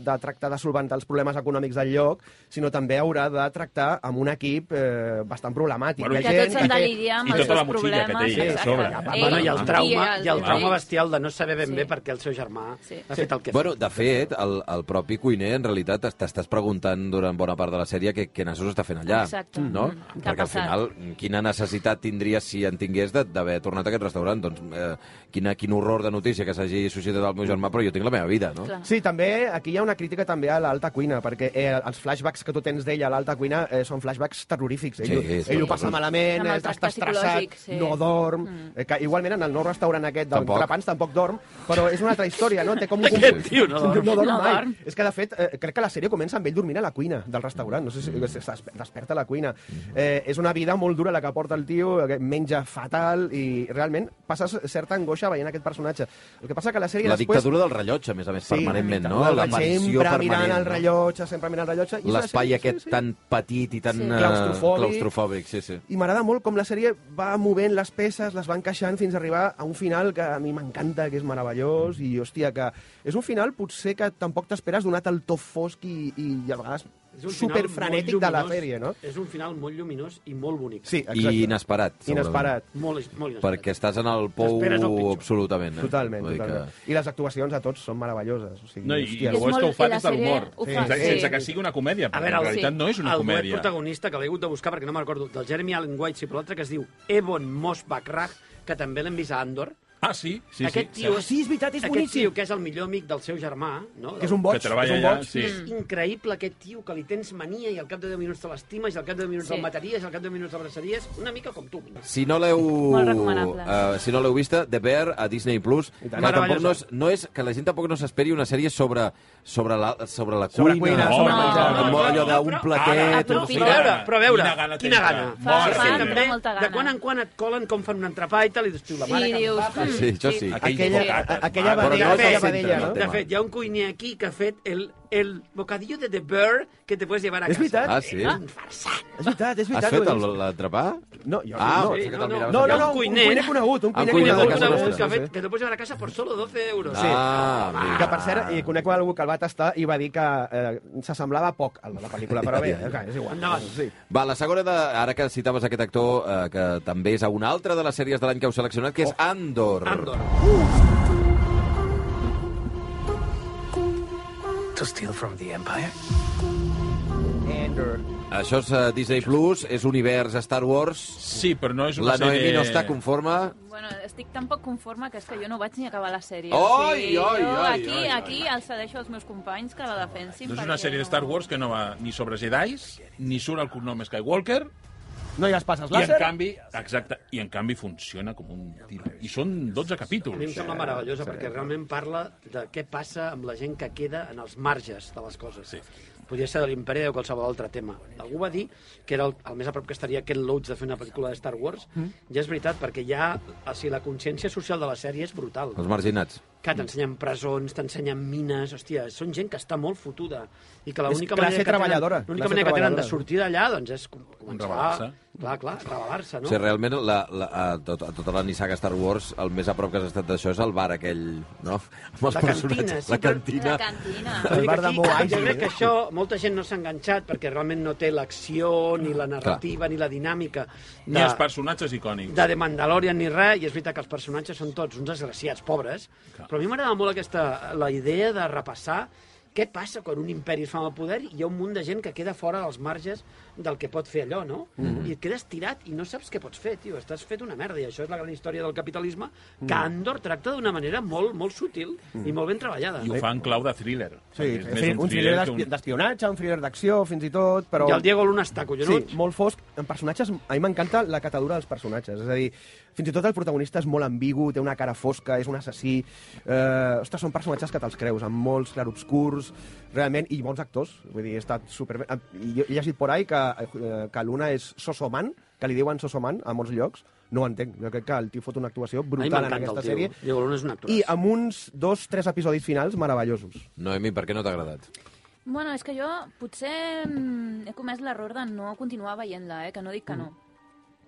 Speaker 4: de, de tractar de solventar els problemes econòmics del lloc, sinó també haurà de tractar amb un equip eh, bastant problemàtic.
Speaker 6: Bueno,
Speaker 4: de
Speaker 6: i-
Speaker 5: Que tots hem de
Speaker 4: que té-
Speaker 5: lidiar amb
Speaker 6: I
Speaker 5: els
Speaker 6: tota la
Speaker 5: seus
Speaker 6: motxilla que té
Speaker 5: problemes.
Speaker 6: ella a
Speaker 5: exacte.
Speaker 6: sobre.
Speaker 5: Ell
Speaker 7: Bueno, i el
Speaker 6: Ah.
Speaker 7: trauma,
Speaker 5: el
Speaker 7: i el trauma
Speaker 5: ell.
Speaker 7: bestial de no saber ben
Speaker 5: Sí.
Speaker 7: bé per què el seu germà
Speaker 5: Sí.
Speaker 7: ha fet el que ha
Speaker 1: Bueno,
Speaker 7: fet.
Speaker 1: de fet, el, el propi cuiner, en realitat, t'es- t'estàs preguntant durant bona part de la sèrie què, què nassos està fent allà,
Speaker 5: Exacte.
Speaker 1: no?
Speaker 5: Mm. Què ha
Speaker 1: Perquè al
Speaker 5: passat?
Speaker 1: final, quina necessitat tindries si en tingués de- d'haver tornat a aquest restaurant? Doncs eh, quina, quin horror de notícia que s'hagi suscitat el meu germà, però jo tinc la meva vida, no?
Speaker 5: Clar.
Speaker 4: Sí, també aquí hi ha una crítica també a l'alta cuina, perquè eh, els flashbacks que tu tens d'ell a l'alta cuina eh, són flashbacks terrorífics. Ell,
Speaker 1: Sí,
Speaker 4: ell ho passa
Speaker 1: espantosos.
Speaker 4: malament,
Speaker 5: Amb el
Speaker 4: eh,
Speaker 5: tracte
Speaker 4: està
Speaker 5: psicològic,
Speaker 4: estressat,
Speaker 5: sí. Mm.
Speaker 4: no dorm... Eh, que igualment en el nou restaurant aquest del
Speaker 1: Tampoc.
Speaker 4: Trapans tampoc dorm, però és una altra història, no? Té com un...
Speaker 7: Aquest tio no dorm.
Speaker 4: No dorm
Speaker 5: No
Speaker 4: mai.
Speaker 5: dorm.
Speaker 4: És que, de fet, eh, crec que la sèrie comença amb ell dormint a la cuina del restaurant. No sé
Speaker 1: Mm.
Speaker 4: si si es desperta a la cuina. Eh, és una vida molt dura la que porta el tio, eh, menja fatal i realment passes certa angoixa veient aquest personatge. El que passa que la sèrie
Speaker 1: La
Speaker 4: després...
Speaker 1: dictadura del rellotge, a més a més, permanentment, no?
Speaker 4: La,
Speaker 1: L'aparició
Speaker 4: sempre
Speaker 1: permanent,
Speaker 4: mirant el
Speaker 1: no?
Speaker 4: rellotge, sempre mirant el rellotge. I és una
Speaker 1: L'espai
Speaker 4: sèrie-
Speaker 1: aquest tan petit i tan...
Speaker 5: Sí.
Speaker 1: eh,
Speaker 4: Claustrofòbic.
Speaker 1: claustrofòbic, sí, sí.
Speaker 4: I m'agrada molt com la sèrie va movent les peces, les va encaixant fins a arribar a un final que a mi m'encanta, que és meravellós, i hòstia, que és un final potser que tampoc t'esperes donat el to fosc i, i, i a vegades
Speaker 7: És un final
Speaker 4: superfrenètic
Speaker 7: molt
Speaker 4: de la
Speaker 7: lluminós,
Speaker 4: sèrie, no?
Speaker 7: És un final molt lluminós i molt bonic.
Speaker 4: Sí, exacte.
Speaker 1: I inesperat, segurament.
Speaker 4: Inesperat.
Speaker 7: Molt, molt inesperat.
Speaker 1: Perquè estàs en el pou
Speaker 7: T'esperes el pitjor.
Speaker 1: absolutament. Eh?
Speaker 4: Totalment,
Speaker 1: Vull dir
Speaker 4: totalment. I les actuacions a tots són meravelloses. O sigui,
Speaker 6: No, i, i
Speaker 4: hòstia,
Speaker 6: el
Speaker 5: És
Speaker 6: bo és que ho
Speaker 5: molt-
Speaker 6: fa
Speaker 5: i la
Speaker 6: des de l'humor.
Speaker 5: sèrie ho
Speaker 4: fa,
Speaker 6: Sense-
Speaker 4: sí.
Speaker 6: Sense que sigui una comèdia,
Speaker 7: A
Speaker 6: perquè
Speaker 7: veure,
Speaker 6: en
Speaker 7: el-
Speaker 6: realitat no és una
Speaker 7: el duet
Speaker 6: comèdia.
Speaker 7: protagonista que l'he hagut de buscar perquè no me'n recordo, del Jeremy Allen White, sí, però l'altre que es diu Ebon Moss Bakrach, que també l'hem vist a Andor.
Speaker 6: Ah, sí, sí,
Speaker 7: aquest
Speaker 6: sí.
Speaker 7: tio,
Speaker 6: cert.
Speaker 4: Sí, és veritat, és
Speaker 7: aquest
Speaker 4: boníssim.
Speaker 7: tio que és el millor amic del seu germà, no?
Speaker 4: Que és un boig,
Speaker 6: que treballa
Speaker 4: és un
Speaker 6: allà,
Speaker 4: boig.
Speaker 6: sí.
Speaker 7: És increïble aquest tio que li tens mania i al cap de 10 minuts te l'estimes i al cap de 10 minuts
Speaker 5: Sí.
Speaker 7: sí. el mataries i al cap de 10 minuts l'abraçaries, una mica com tu.
Speaker 1: Si no l'heu
Speaker 5: Molt recomanable.
Speaker 1: eh, si no l'heu vista, The Bear a Disney Plus, que tampoc
Speaker 7: Meravellosa.
Speaker 1: no és, no és que la gent tampoc no s'esperi una sèrie sobre sobre la sobre la
Speaker 4: Sobre
Speaker 1: cuina,
Speaker 4: cuina, sobre
Speaker 1: no,
Speaker 4: menjar.
Speaker 1: no, no, allò d'un
Speaker 7: Però-
Speaker 1: platet,
Speaker 5: Ara,
Speaker 1: no sé
Speaker 5: aprofita.
Speaker 7: Però a
Speaker 1: què.
Speaker 7: veure,
Speaker 6: gana.
Speaker 7: però a veure,
Speaker 6: Quina gana
Speaker 7: quina
Speaker 6: tens,
Speaker 7: gana.
Speaker 6: ja. Fa
Speaker 7: Perquè
Speaker 6: gana,
Speaker 7: també,
Speaker 5: fa molta
Speaker 7: de
Speaker 5: gana.
Speaker 7: quan en quan et colen com fan un entrepà i tal, i dius, tu, la
Speaker 5: Sí,
Speaker 7: mare que em
Speaker 5: dius,
Speaker 7: va,
Speaker 5: mm,
Speaker 1: Sí, això sí.
Speaker 4: Aquella,
Speaker 6: Aquella-
Speaker 4: aquella
Speaker 1: Però
Speaker 4: vedella,
Speaker 1: no és
Speaker 4: aquella
Speaker 1: el centre,
Speaker 4: vedella,
Speaker 1: no?
Speaker 4: no?
Speaker 7: De fet, hi ha un cuiner aquí que ha fet el, el bocadillo de The Bear que te puedes llevar a
Speaker 4: És
Speaker 7: casa.
Speaker 4: veritat.
Speaker 1: Ah, sí?
Speaker 7: Un farsant.
Speaker 4: És veritat, és veritat.
Speaker 1: Has
Speaker 4: ho he
Speaker 1: fet
Speaker 4: vist.
Speaker 1: el- l'entrepà?
Speaker 4: No, jo
Speaker 1: Ah,
Speaker 4: no.
Speaker 1: pensava que
Speaker 7: no,
Speaker 1: te'l
Speaker 7: no.
Speaker 1: miraves
Speaker 4: No,
Speaker 1: allà.
Speaker 4: no, no, un
Speaker 7: cuiner.
Speaker 4: cuiner, conegut,
Speaker 1: Ah,
Speaker 4: un
Speaker 1: un cuiner
Speaker 4: cuiner,
Speaker 7: Cuiner
Speaker 1: de
Speaker 4: conegut.
Speaker 1: casa
Speaker 7: conegut
Speaker 1: nostra,
Speaker 7: que, ha fet, que te pots llevar a casa per solo 12 euros.
Speaker 4: Sí.
Speaker 1: Ah, mira.
Speaker 4: Que, per cert, eh, conec algú que el va tastar i va dir que eh, s'assemblava poc a la de pel·lícula, però bé, ja, és igual.
Speaker 7: Endavant.
Speaker 4: Sí.
Speaker 1: Va, la segona, de, ara que citaves aquest actor, eh, que també és a una altra de les sèries de l'any que heu seleccionat, que és Andor.
Speaker 7: Oh. Andor.
Speaker 16: To steal from the Empire?
Speaker 1: Això és eh, Disney+, Plus, és univers Star Wars.
Speaker 6: Sí, però no és una
Speaker 1: La Noemi
Speaker 6: sèrie...
Speaker 1: no està conforme.
Speaker 5: Bueno, estic tan poc conforme que és que jo no vaig ni acabar la sèrie.
Speaker 1: Oi,
Speaker 5: jo
Speaker 1: oi, oi,
Speaker 5: aquí,
Speaker 1: oi, oi.
Speaker 5: aquí els cedeixo als meus companys que la defensin.
Speaker 6: No és
Speaker 5: perquè
Speaker 6: una sèrie de Star Wars que no va ni sobre Jedi, ni surt el cognom Skywalker,
Speaker 4: No hi ha espases
Speaker 6: I en
Speaker 4: làser.
Speaker 6: canvi, exacte, i en canvi funciona com un tiro. I són 12
Speaker 7: A mi em
Speaker 6: capítols.
Speaker 7: sembla meravellosa, perquè realment parla de què passa amb la gent que queda en els marges de les coses. Sí. Podria ser de l'imperi o qualsevol altre tema. Algú va dir que era el, el més a prop que estaria Ken Loach de fer una pel·lícula de Star Wars, mm. i és veritat, perquè ja o sigui, la consciència social de la sèrie és brutal.
Speaker 1: Els marginats.
Speaker 7: Que t'ensenyen presons, t'ensenyen mines, hòstia, són gent que està molt fotuda i que
Speaker 4: És
Speaker 7: l'única
Speaker 4: classe
Speaker 7: manera, que tenen,
Speaker 4: treballadora,
Speaker 7: l'única
Speaker 4: classe
Speaker 7: manera que tenen de
Speaker 4: treballadora.
Speaker 7: sortir d'allà doncs és com- començar...
Speaker 6: Rebel·lar-se.
Speaker 7: Clar, clar,
Speaker 1: No?
Speaker 7: rebel·lar-se, no?
Speaker 1: O sigui, realment, la, la, a, tot, a tota la nissaga Star Wars, el més a prop que has estat d'això és el bar aquell, no? Amb els
Speaker 7: La
Speaker 1: personatges.
Speaker 7: cantina, sí,
Speaker 1: la
Speaker 7: però-
Speaker 1: cantina.
Speaker 5: La cantina.
Speaker 7: Vull dir
Speaker 4: bar
Speaker 7: que
Speaker 4: de
Speaker 7: aquí, Jo
Speaker 4: Moai, sí. eh?
Speaker 7: crec que això molta gent no s'ha enganxat perquè realment no té l'acció, ni la narrativa, ni la dinàmica de,
Speaker 6: Ni els personatges icònics.
Speaker 7: de The Mandalorian ni res, i és veritat que els personatges són tots uns desgraciats, pobres,
Speaker 6: Clar.
Speaker 7: però a mi m'agrada molt aquesta, la idea de repassar què passa quan un imperi es fa amb el poder i hi ha un munt de gent que queda fora dels marges del que pot fer allò, no? Mm
Speaker 4: Mhm.
Speaker 7: -hmm. I et quedes tirat i no saps què pots fer, tio. Estàs fet una merda i això és la gran història del capitalisme
Speaker 4: Mhm.
Speaker 7: que Andor tracta d'una manera molt, molt sutil i molt ben treballada.
Speaker 6: I ho fa en clau de thriller.
Speaker 4: Sí,
Speaker 6: És
Speaker 4: sí,
Speaker 6: més
Speaker 4: sí, un thriller
Speaker 6: que
Speaker 4: d'espi- d'espionatge, un thriller d'acció, fins i tot, però...
Speaker 7: I el Diego Luna està,
Speaker 4: Sí,
Speaker 7: collonut.
Speaker 4: molt fosc. En personatges, a mi m'encanta la catadura dels personatges. És a dir, fins i tot el protagonista és molt ambigu, té una cara fosca, és un assassí... Eh, ostres, són personatges que te'ls creus, amb molts clarobscurs, realment, i bons actors. Vull dir, ha estat super... I jo he llegit por ahí que, eh, que Luna és Sosoman, que li diuen Sosoman a molts llocs. No ho entenc. Jo crec que el tio fot una actuació
Speaker 7: a mi
Speaker 4: brutal en
Speaker 7: m'encanta
Speaker 4: aquesta
Speaker 7: el tio.
Speaker 4: sèrie.
Speaker 7: Diego Luna és un actor.
Speaker 4: I amb uns dos, tres episodis finals meravellosos.
Speaker 1: Noemi, per què no t'ha agradat?
Speaker 5: Bueno, és que jo potser mm, he comès l'error de no continuar veient-la, eh? que no dic que no.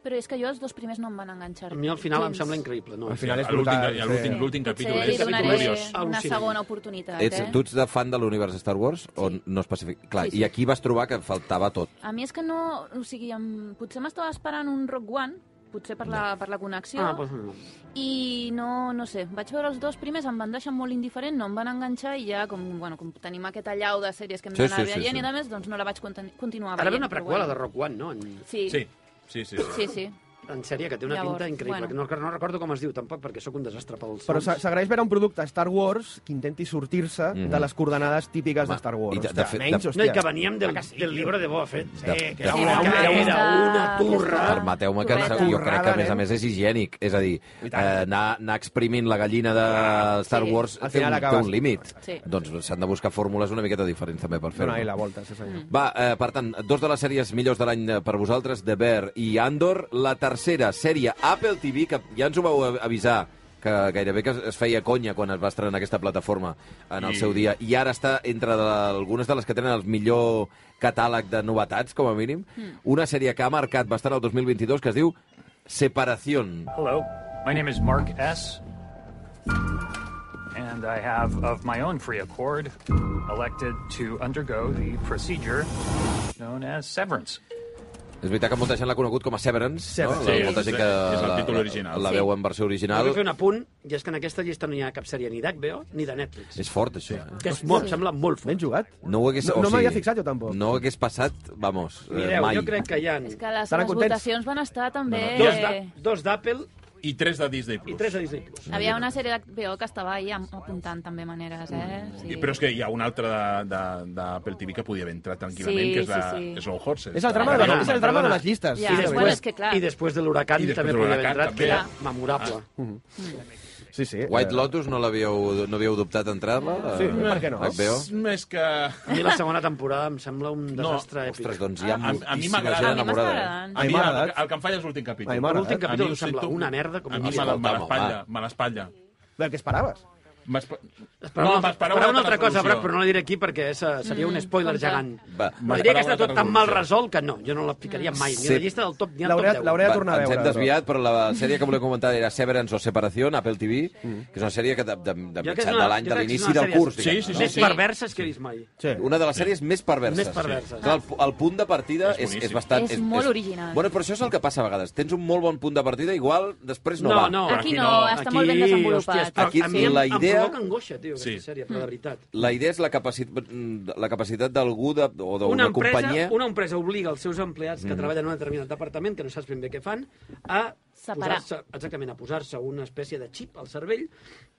Speaker 5: Però és que jo els dos primers no em van enganxar.
Speaker 7: A mi al final em
Speaker 5: gens.
Speaker 7: sembla increïble. No?
Speaker 4: Al final és
Speaker 6: l'últim-
Speaker 4: brutal,
Speaker 6: i l'últim-
Speaker 4: sí.
Speaker 6: L'últim capítol
Speaker 5: Potser li
Speaker 6: és
Speaker 5: donaré
Speaker 6: gloriós.
Speaker 5: una
Speaker 7: Al·lucinant.
Speaker 5: segona oportunitat.
Speaker 1: Ets,
Speaker 5: eh?
Speaker 1: tu ets de fan de l'univers Star Wars o no especific... Clar,
Speaker 5: Sí,
Speaker 1: sí,
Speaker 5: sí.
Speaker 1: sí. i aquí vas trobar que faltava tot.
Speaker 5: A mi és que no... O sigui, em, potser m'estava esperant un Rock One, potser per la, per la connexió,
Speaker 7: Ah, doncs no.
Speaker 5: i no, no sé, vaig veure els dos primers, em van deixar molt indiferent, no em van enganxar, i ja, com, bueno, com tenim aquest allau de sèries que hem
Speaker 1: Sí,
Speaker 5: d'anar
Speaker 1: sí, sí,
Speaker 5: veient
Speaker 1: sí.
Speaker 5: i de més, doncs no la vaig conten- continuar
Speaker 7: Ara ve
Speaker 5: veient.
Speaker 7: una
Speaker 5: però
Speaker 7: prequela de
Speaker 5: bueno.
Speaker 7: Rock One, no? En,
Speaker 5: Sí,
Speaker 6: Sí, sí, sí. sí.
Speaker 5: sí, sí.
Speaker 7: en sèrie, que té una
Speaker 5: Llavors,
Speaker 7: pinta increïble.
Speaker 5: bueno.
Speaker 7: Bueno. No, no recordo com es diu, tampoc, perquè sóc un desastre pels
Speaker 4: Però s'ha-
Speaker 7: noms.
Speaker 4: s'agraeix veure un producte Star Wars que intenti sortir-se
Speaker 1: Doncs- Mhm.
Speaker 4: de les coordenades típiques
Speaker 1: Home,
Speaker 4: de Star
Speaker 1: i
Speaker 4: Wars.
Speaker 1: de- de
Speaker 4: Hòstia,
Speaker 1: fet-
Speaker 4: menys,
Speaker 1: de-
Speaker 4: hòstia.
Speaker 7: No, i que veníem del, del llibre de Boba Fett. Sí,
Speaker 1: De-
Speaker 7: que
Speaker 1: de-
Speaker 7: era una,
Speaker 5: Aquesta-
Speaker 7: era una
Speaker 5: aquesta-
Speaker 7: turra.
Speaker 1: Permeteu-me que
Speaker 5: Correcte.
Speaker 1: jo crec que, a més a
Speaker 4: Correcte.
Speaker 1: més, és higiènic. És a dir,
Speaker 4: I
Speaker 1: eh,
Speaker 4: tant.
Speaker 1: anar, anar exprimint la gallina de Star
Speaker 5: Sí.
Speaker 1: Wars
Speaker 4: Al
Speaker 1: té
Speaker 4: final
Speaker 1: un, té
Speaker 4: acabes-
Speaker 1: un límit.
Speaker 5: Sí.
Speaker 1: Doncs s'han de buscar fórmules una miqueta diferents també per fer-ho.
Speaker 4: Dona-hi la volta, sí senyor.
Speaker 7: Mm.
Speaker 1: Va, eh, per tant, dos de les sèries millors de l'any eh, per vosaltres, The Bear i Andor. La tercera sèrie, Apple TV, que ja ens ho vau a- avisar, que gairebé que es- es feia conya quan es va estrenar aquesta plataforma en el
Speaker 6: I-
Speaker 1: seu dia. I ara està entre de, algunes de les que tenen el millor catàleg de novetats, com a mínim.
Speaker 7: Hmm.
Speaker 1: Una sèrie que ha marcat bastant el 2022 que es diu Separación.
Speaker 17: Hello, my name is Mark S. And I have, of my own free accord, elected to undergo the procedure known as severance.
Speaker 1: És veritat que molta gent l'ha conegut com a Severance, no?
Speaker 4: Severance.
Speaker 6: Sí,
Speaker 1: molta
Speaker 6: és-
Speaker 1: gent que
Speaker 6: és el
Speaker 1: la-
Speaker 6: títol original.
Speaker 1: La, la
Speaker 6: Sí.
Speaker 1: veu en versió
Speaker 7: Jo
Speaker 1: original.
Speaker 7: vull fer un apunt, i és que en aquesta llista no hi ha cap sèrie ni d'HBO ni de Netflix.
Speaker 1: És fort, això, eh?
Speaker 7: Que és molt, sembla molt
Speaker 4: Ben
Speaker 7: fort.
Speaker 4: jugat.
Speaker 1: No ho hagués...
Speaker 4: No- no m'havia fixat jo tampoc.
Speaker 1: No ho hagués passat, vamos, eh,
Speaker 7: Mireu,
Speaker 1: mai.
Speaker 7: jo crec que hi ha
Speaker 5: És que les,
Speaker 4: Estaran
Speaker 5: les
Speaker 4: contents?
Speaker 5: votacions van estar també...
Speaker 7: dos d'A- dos d'Apple
Speaker 6: I tres de Disney Plus.
Speaker 7: i tres de Disney+. Plus.
Speaker 5: Havia una sèrie d'HBO que estava ahí am- apuntant també maneres, eh?
Speaker 7: Mm.
Speaker 5: Sí.
Speaker 6: I- Però és que hi ha una altra d'Apple TV que podia haver entrat tranquil·lament,
Speaker 5: Sí,
Speaker 6: que és, la,
Speaker 5: sí, sí.
Speaker 6: és Old Horses.
Speaker 4: És el
Speaker 1: Ah,
Speaker 4: drama, de,
Speaker 7: Perdona,
Speaker 4: és el drama de
Speaker 7: perdona.
Speaker 4: les llistes.
Speaker 5: Ja,
Speaker 4: sí,
Speaker 5: Ah, bueno,
Speaker 4: veritat.
Speaker 5: és que clar.
Speaker 7: I després de l'huracan
Speaker 6: I després
Speaker 7: també
Speaker 6: de
Speaker 7: podia haver
Speaker 6: l'huracán,
Speaker 7: entrat, que
Speaker 6: també.
Speaker 7: era memorable.
Speaker 4: sí, sí.
Speaker 1: White
Speaker 4: eh,
Speaker 1: Lotus no l'havíeu no havíeu dubtat a entrar-la?
Speaker 4: Sí,
Speaker 1: Eh,
Speaker 4: per què no?
Speaker 1: HBO?
Speaker 6: És més que...
Speaker 7: A mi la segona temporada em sembla un desastre èpic.
Speaker 1: Ostres, doncs hi ha
Speaker 6: A- a mi
Speaker 1: moltíssima
Speaker 6: m'agrada.
Speaker 1: gent
Speaker 5: A mi m'està
Speaker 1: enamorada. eh?
Speaker 5: agradant.
Speaker 4: A mi
Speaker 6: el-
Speaker 4: m'agrada.
Speaker 6: El que em falla és l'últim capítol.
Speaker 4: A mi m'agrada.
Speaker 7: L'últim
Speaker 6: A mi
Speaker 7: capítol
Speaker 6: ho
Speaker 7: em sembla
Speaker 6: sento-
Speaker 7: una merda com a
Speaker 6: A mi
Speaker 7: mínim.
Speaker 6: me la- me
Speaker 1: Escolta,
Speaker 6: l'espatlla,
Speaker 1: home.
Speaker 6: me l'espatlla.
Speaker 4: Del que esperaves.
Speaker 6: M'espe-
Speaker 7: Esperava,
Speaker 6: No,
Speaker 7: no,
Speaker 6: m'esperava
Speaker 7: esperava una altra cosa,
Speaker 6: resolució.
Speaker 7: Brac, però no la diré aquí perquè és, eh, seria un spoiler
Speaker 5: compte.
Speaker 7: gegant.
Speaker 1: Va,
Speaker 7: Va, diré que
Speaker 6: m'esperava
Speaker 7: està
Speaker 6: una
Speaker 7: tot
Speaker 6: altra
Speaker 7: tan mal
Speaker 6: resolució.
Speaker 7: resolt que no, jo no la ficaria mai, ni a
Speaker 1: Sí.
Speaker 7: la llista del top, ni al top
Speaker 4: L'hauré
Speaker 7: 10.
Speaker 4: l'hauré de tornar a
Speaker 1: ens
Speaker 4: veure.
Speaker 1: hem
Speaker 4: però.
Speaker 1: desviat, però la sèrie que voleu comentar era Severance o Separación, Apple TV,
Speaker 4: Mm.
Speaker 1: que és una sèrie que de, de, de
Speaker 7: Jo crec que és
Speaker 1: mitjan
Speaker 7: una-
Speaker 1: de l'any,
Speaker 7: jo
Speaker 1: de
Speaker 7: crec que és
Speaker 1: l'inici
Speaker 7: una
Speaker 1: del
Speaker 7: sèrie
Speaker 1: curs, diguem,
Speaker 6: Sí, sí,
Speaker 1: no?
Speaker 6: sí,
Speaker 7: Més
Speaker 6: sí.
Speaker 7: perverses que he vist mai.
Speaker 4: Sí.
Speaker 1: Una de les sèries més perverses.
Speaker 7: Més perverses.
Speaker 1: Clar, el, el punt de partida és, és,
Speaker 6: boníssim.
Speaker 1: bastant...
Speaker 5: És molt original.
Speaker 1: Bueno, però això és el que passa a vegades. Tens un molt bon punt de partida, igual després no, va.
Speaker 7: no,
Speaker 5: Aquí no, està molt ben desenvolupat.
Speaker 7: hòstia, està-
Speaker 1: Aquí
Speaker 7: a mi em-
Speaker 1: la
Speaker 7: em
Speaker 1: idea idea...
Speaker 7: Provoca angoixa, tio, sí. aquesta sèrie, però de veritat.
Speaker 1: La idea és la, capacit la capacitat d'algú de, o d'una
Speaker 7: empresa,
Speaker 1: companyia...
Speaker 7: Una empresa obliga els seus empleats que mm. treballen en un determinat departament, que no saps ben bé què fan, a
Speaker 5: Separar.
Speaker 7: posar-se exactament a posar-se una espècie de xip al cervell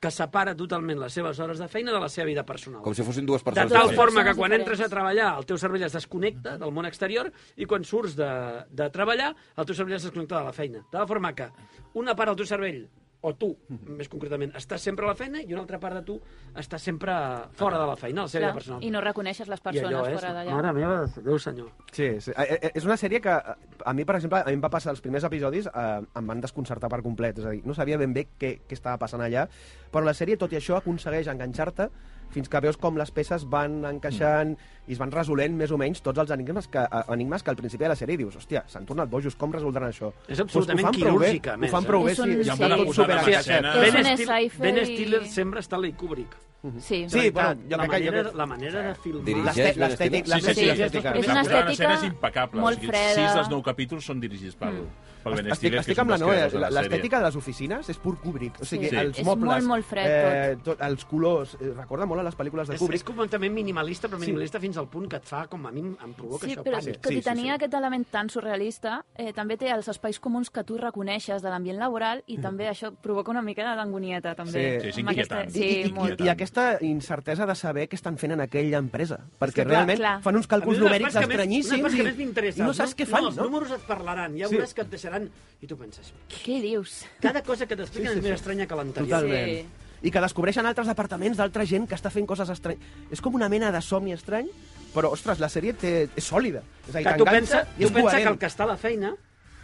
Speaker 7: que separa totalment les seves hores de feina de la seva vida personal.
Speaker 1: Com si fossin dues
Speaker 7: De
Speaker 1: persones.
Speaker 7: tal
Speaker 1: diferents.
Speaker 7: forma que
Speaker 5: Persones
Speaker 7: quan
Speaker 5: diferents.
Speaker 7: entres a treballar el teu cervell es desconnecta del món exterior i quan surts de, de treballar el teu cervell es desconnecta de la feina. De tal forma que una part del teu cervell o tu,
Speaker 1: Mm-hmm.
Speaker 7: més concretament, estàs sempre a la feina i una altra part de tu està sempre fora de la feina, a la seva vida personal.
Speaker 5: I no reconeixes les
Speaker 7: I
Speaker 5: persones
Speaker 7: allò és...
Speaker 5: fora d'allà.
Speaker 7: Mare meva, Déu senyor.
Speaker 4: Sí, sí. Eh, eh, És una sèrie que eh, a mi, per exemple, a mi em va passar els primers episodis, eh, em van desconcertar per complet, és a dir, no sabia ben bé què, què estava passant allà, però la sèrie, tot i això, aconsegueix enganxar-te fins que veus com les peces van encaixant i es van resolent més o menys tots els enigmes que, eh, enigmes que al principi de la sèrie dius, hòstia, s'han tornat bojos, com resoldran això?
Speaker 7: És absolutament
Speaker 4: Doncs ho fan prou bé,
Speaker 7: quirúrgica, a més,
Speaker 4: Ho fan
Speaker 7: eh?
Speaker 4: prou bé,
Speaker 5: És un-
Speaker 4: sí.
Speaker 5: Hi ha una
Speaker 4: Tot
Speaker 6: posada en
Speaker 4: superacció.
Speaker 6: escena.
Speaker 5: És
Speaker 7: Ben,
Speaker 5: un
Speaker 7: Stil
Speaker 5: sci-fi.
Speaker 7: ben Stiller sempre està a Kubrick.
Speaker 5: Sí.
Speaker 4: Sí,
Speaker 7: De veritat,
Speaker 4: bueno, jo
Speaker 7: la,
Speaker 4: crec que jo
Speaker 7: manera,
Speaker 4: crec-
Speaker 7: la manera de filmar...
Speaker 1: Dirigeix
Speaker 4: L'estè-
Speaker 1: Ben
Speaker 4: l'estètic-
Speaker 1: Stiller.
Speaker 5: Sí, sí,
Speaker 4: l'estètica.
Speaker 5: És
Speaker 6: La
Speaker 5: una
Speaker 6: posada en
Speaker 5: estètica
Speaker 6: escena és impecable.
Speaker 5: molt freda. Mm.
Speaker 6: Sis dels nou capítols són dirigits pel, pel Ben
Speaker 4: Estic,
Speaker 6: Stiller,
Speaker 4: estic
Speaker 6: que és un
Speaker 4: amb la
Speaker 6: dels
Speaker 4: Noé,
Speaker 6: creadors de
Speaker 7: doncs,
Speaker 6: la sèrie.
Speaker 4: l'estètica de les oficines és pur Kubrick. O sigui,
Speaker 5: Sí.
Speaker 4: els
Speaker 5: És
Speaker 4: mobles,
Speaker 5: molt, molt fred,
Speaker 4: eh, tot. els colors, eh, recorda molt a les pel·lícules de
Speaker 7: És, és
Speaker 4: Kubrick.
Speaker 7: completament minimalista, però minimalista sí. fins al punt que et fa, com a mi em- em provoca
Speaker 5: Sí,
Speaker 7: això.
Speaker 5: però
Speaker 7: pànic.
Speaker 5: tot i tenir aquest element tan surrealista, eh, també té els espais comuns que tu reconeixes de l'ambient laboral i també això provoca una mica d'angonieta, també.
Speaker 4: Sí,
Speaker 6: sí, és
Speaker 5: Amb aquesta-
Speaker 6: inquietant.
Speaker 5: Sí,
Speaker 4: I, i,
Speaker 5: molt.
Speaker 4: i aquesta incertesa de saber què estan fent en aquella empresa. Perquè
Speaker 5: clar,
Speaker 4: realment
Speaker 5: clar.
Speaker 4: fan uns
Speaker 7: A mi
Speaker 4: càlculs
Speaker 7: una de les
Speaker 4: numèrics
Speaker 7: parts que més- una de les
Speaker 4: estranyíssims
Speaker 7: parts
Speaker 4: i,
Speaker 7: que més m'interessa,
Speaker 4: i no saps què fan,
Speaker 7: els
Speaker 4: no?
Speaker 7: números et parlaran, ja
Speaker 4: Sí.
Speaker 7: veuràs que et deixaran... I tu penses,
Speaker 5: Què dius?
Speaker 7: cada cosa que t'expliquen és més estranya que l'anterior.
Speaker 4: Totalment.
Speaker 5: Sí.
Speaker 4: I que descobreixen altres departaments d'altra gent que està fent coses estranyes. És com una mena de somni estrany, però, ostres, la sèrie té, és sòlida. És a dir,
Speaker 7: Que tu
Speaker 4: t'enganxa
Speaker 7: pensa,
Speaker 4: i
Speaker 7: tu
Speaker 4: és
Speaker 7: pensa que
Speaker 4: coherent.
Speaker 7: el que està a la feina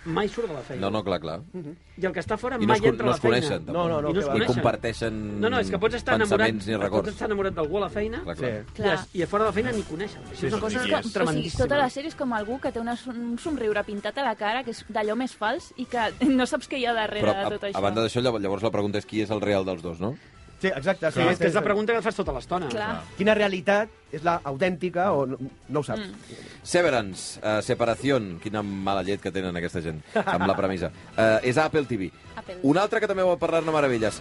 Speaker 7: mai surt de la feina.
Speaker 1: No, no, clar, clar.
Speaker 7: I el que està fora
Speaker 1: I no
Speaker 7: mai
Speaker 1: es con-
Speaker 7: entra
Speaker 1: no
Speaker 7: a la
Speaker 1: es
Speaker 7: feina.
Speaker 1: coneixen, tampoc.
Speaker 4: No, no, no,
Speaker 7: I no es
Speaker 4: que va.
Speaker 1: Ni
Speaker 7: coneixen.
Speaker 1: comparteixen
Speaker 7: No, no, és que pots estar enamorat,
Speaker 1: pensaments ni
Speaker 7: pots
Speaker 1: records.
Speaker 7: estar enamorat d'algú a la feina
Speaker 1: Clar, clar.
Speaker 4: Sí.
Speaker 7: i, a, i a fora de la feina ni coneixen. Això és una cosa
Speaker 5: És
Speaker 6: Yes.
Speaker 5: com, o sigui,
Speaker 7: tremendíssima.
Speaker 5: tota la sèrie és com algú que té una, un somriure pintat a la cara, que és d'allò més fals, i que no saps què hi ha darrere
Speaker 1: Però
Speaker 5: de
Speaker 1: a,
Speaker 5: tot això.
Speaker 1: a banda d'això, llavors, llavors la pregunta és qui és el real dels dos, no?
Speaker 4: Sí, exacte.
Speaker 7: Sí,
Speaker 4: Sí,
Speaker 7: és que és la pregunta que et fas tota l'estona.
Speaker 5: Clar.
Speaker 4: Quina realitat és la autèntica o no, no ho saps. Mm.
Speaker 1: Severance, uh, Separación, quina mala llet que tenen aquesta gent, amb la premissa. Uh, és a Apple TV.
Speaker 5: Apple.
Speaker 1: Un altre que també va parlar-ne meravelles,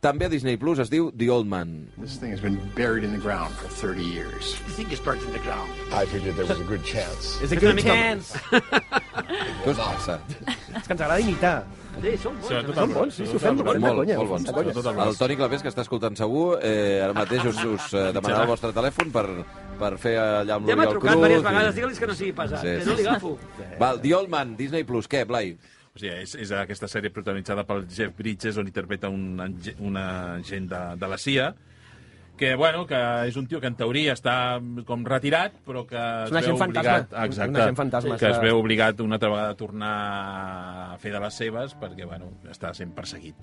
Speaker 1: també a Disney Plus, es diu The Old Man.
Speaker 8: This thing has been buried in the ground for 30 years. You think it's buried in the ground?
Speaker 18: I figured there was a good chance.
Speaker 4: És a good chance.
Speaker 1: Què us passa?
Speaker 4: És que ens agrada imitar.
Speaker 7: Sí, són bons.
Speaker 6: Sobretot
Speaker 7: eh?
Speaker 6: el-
Speaker 4: bons, sí, s'ho
Speaker 6: sobretot
Speaker 4: fem
Speaker 6: el
Speaker 4: molt,
Speaker 6: Brad.
Speaker 1: Molt,
Speaker 4: conya,
Speaker 1: molt bons.
Speaker 4: de conya.
Speaker 6: Sobretot el Brad.
Speaker 1: El Toni Clavés, que està escoltant segur, eh, ara mateix us, us eh, demanarà el vostre telèfon per, per fer allà amb
Speaker 7: Ja m'ha
Speaker 1: l'Oriol Cruz.
Speaker 7: trucat diverses vegades,
Speaker 1: i-
Speaker 7: digue-li que no sigui pesat,
Speaker 1: Sí,
Speaker 7: que
Speaker 1: sí,
Speaker 7: no
Speaker 1: sí.
Speaker 7: li agafo.
Speaker 1: Val, The Old Man, Disney Plus, què, Blai?
Speaker 6: O sigui, és, és aquesta sèrie protagonitzada pel Jeff Bridges, on interpreta un, enge- una gent de, de la CIA, que, bueno, que és un tio que en teoria està com retirat, però que
Speaker 4: És un
Speaker 6: es veu
Speaker 4: agent fantasma.
Speaker 6: obligat... Exacte,
Speaker 4: Un agent fantasma,
Speaker 6: Que es
Speaker 4: està-
Speaker 6: veu obligat una altra vegada a tornar a fer de les seves perquè, bueno, està sent perseguit.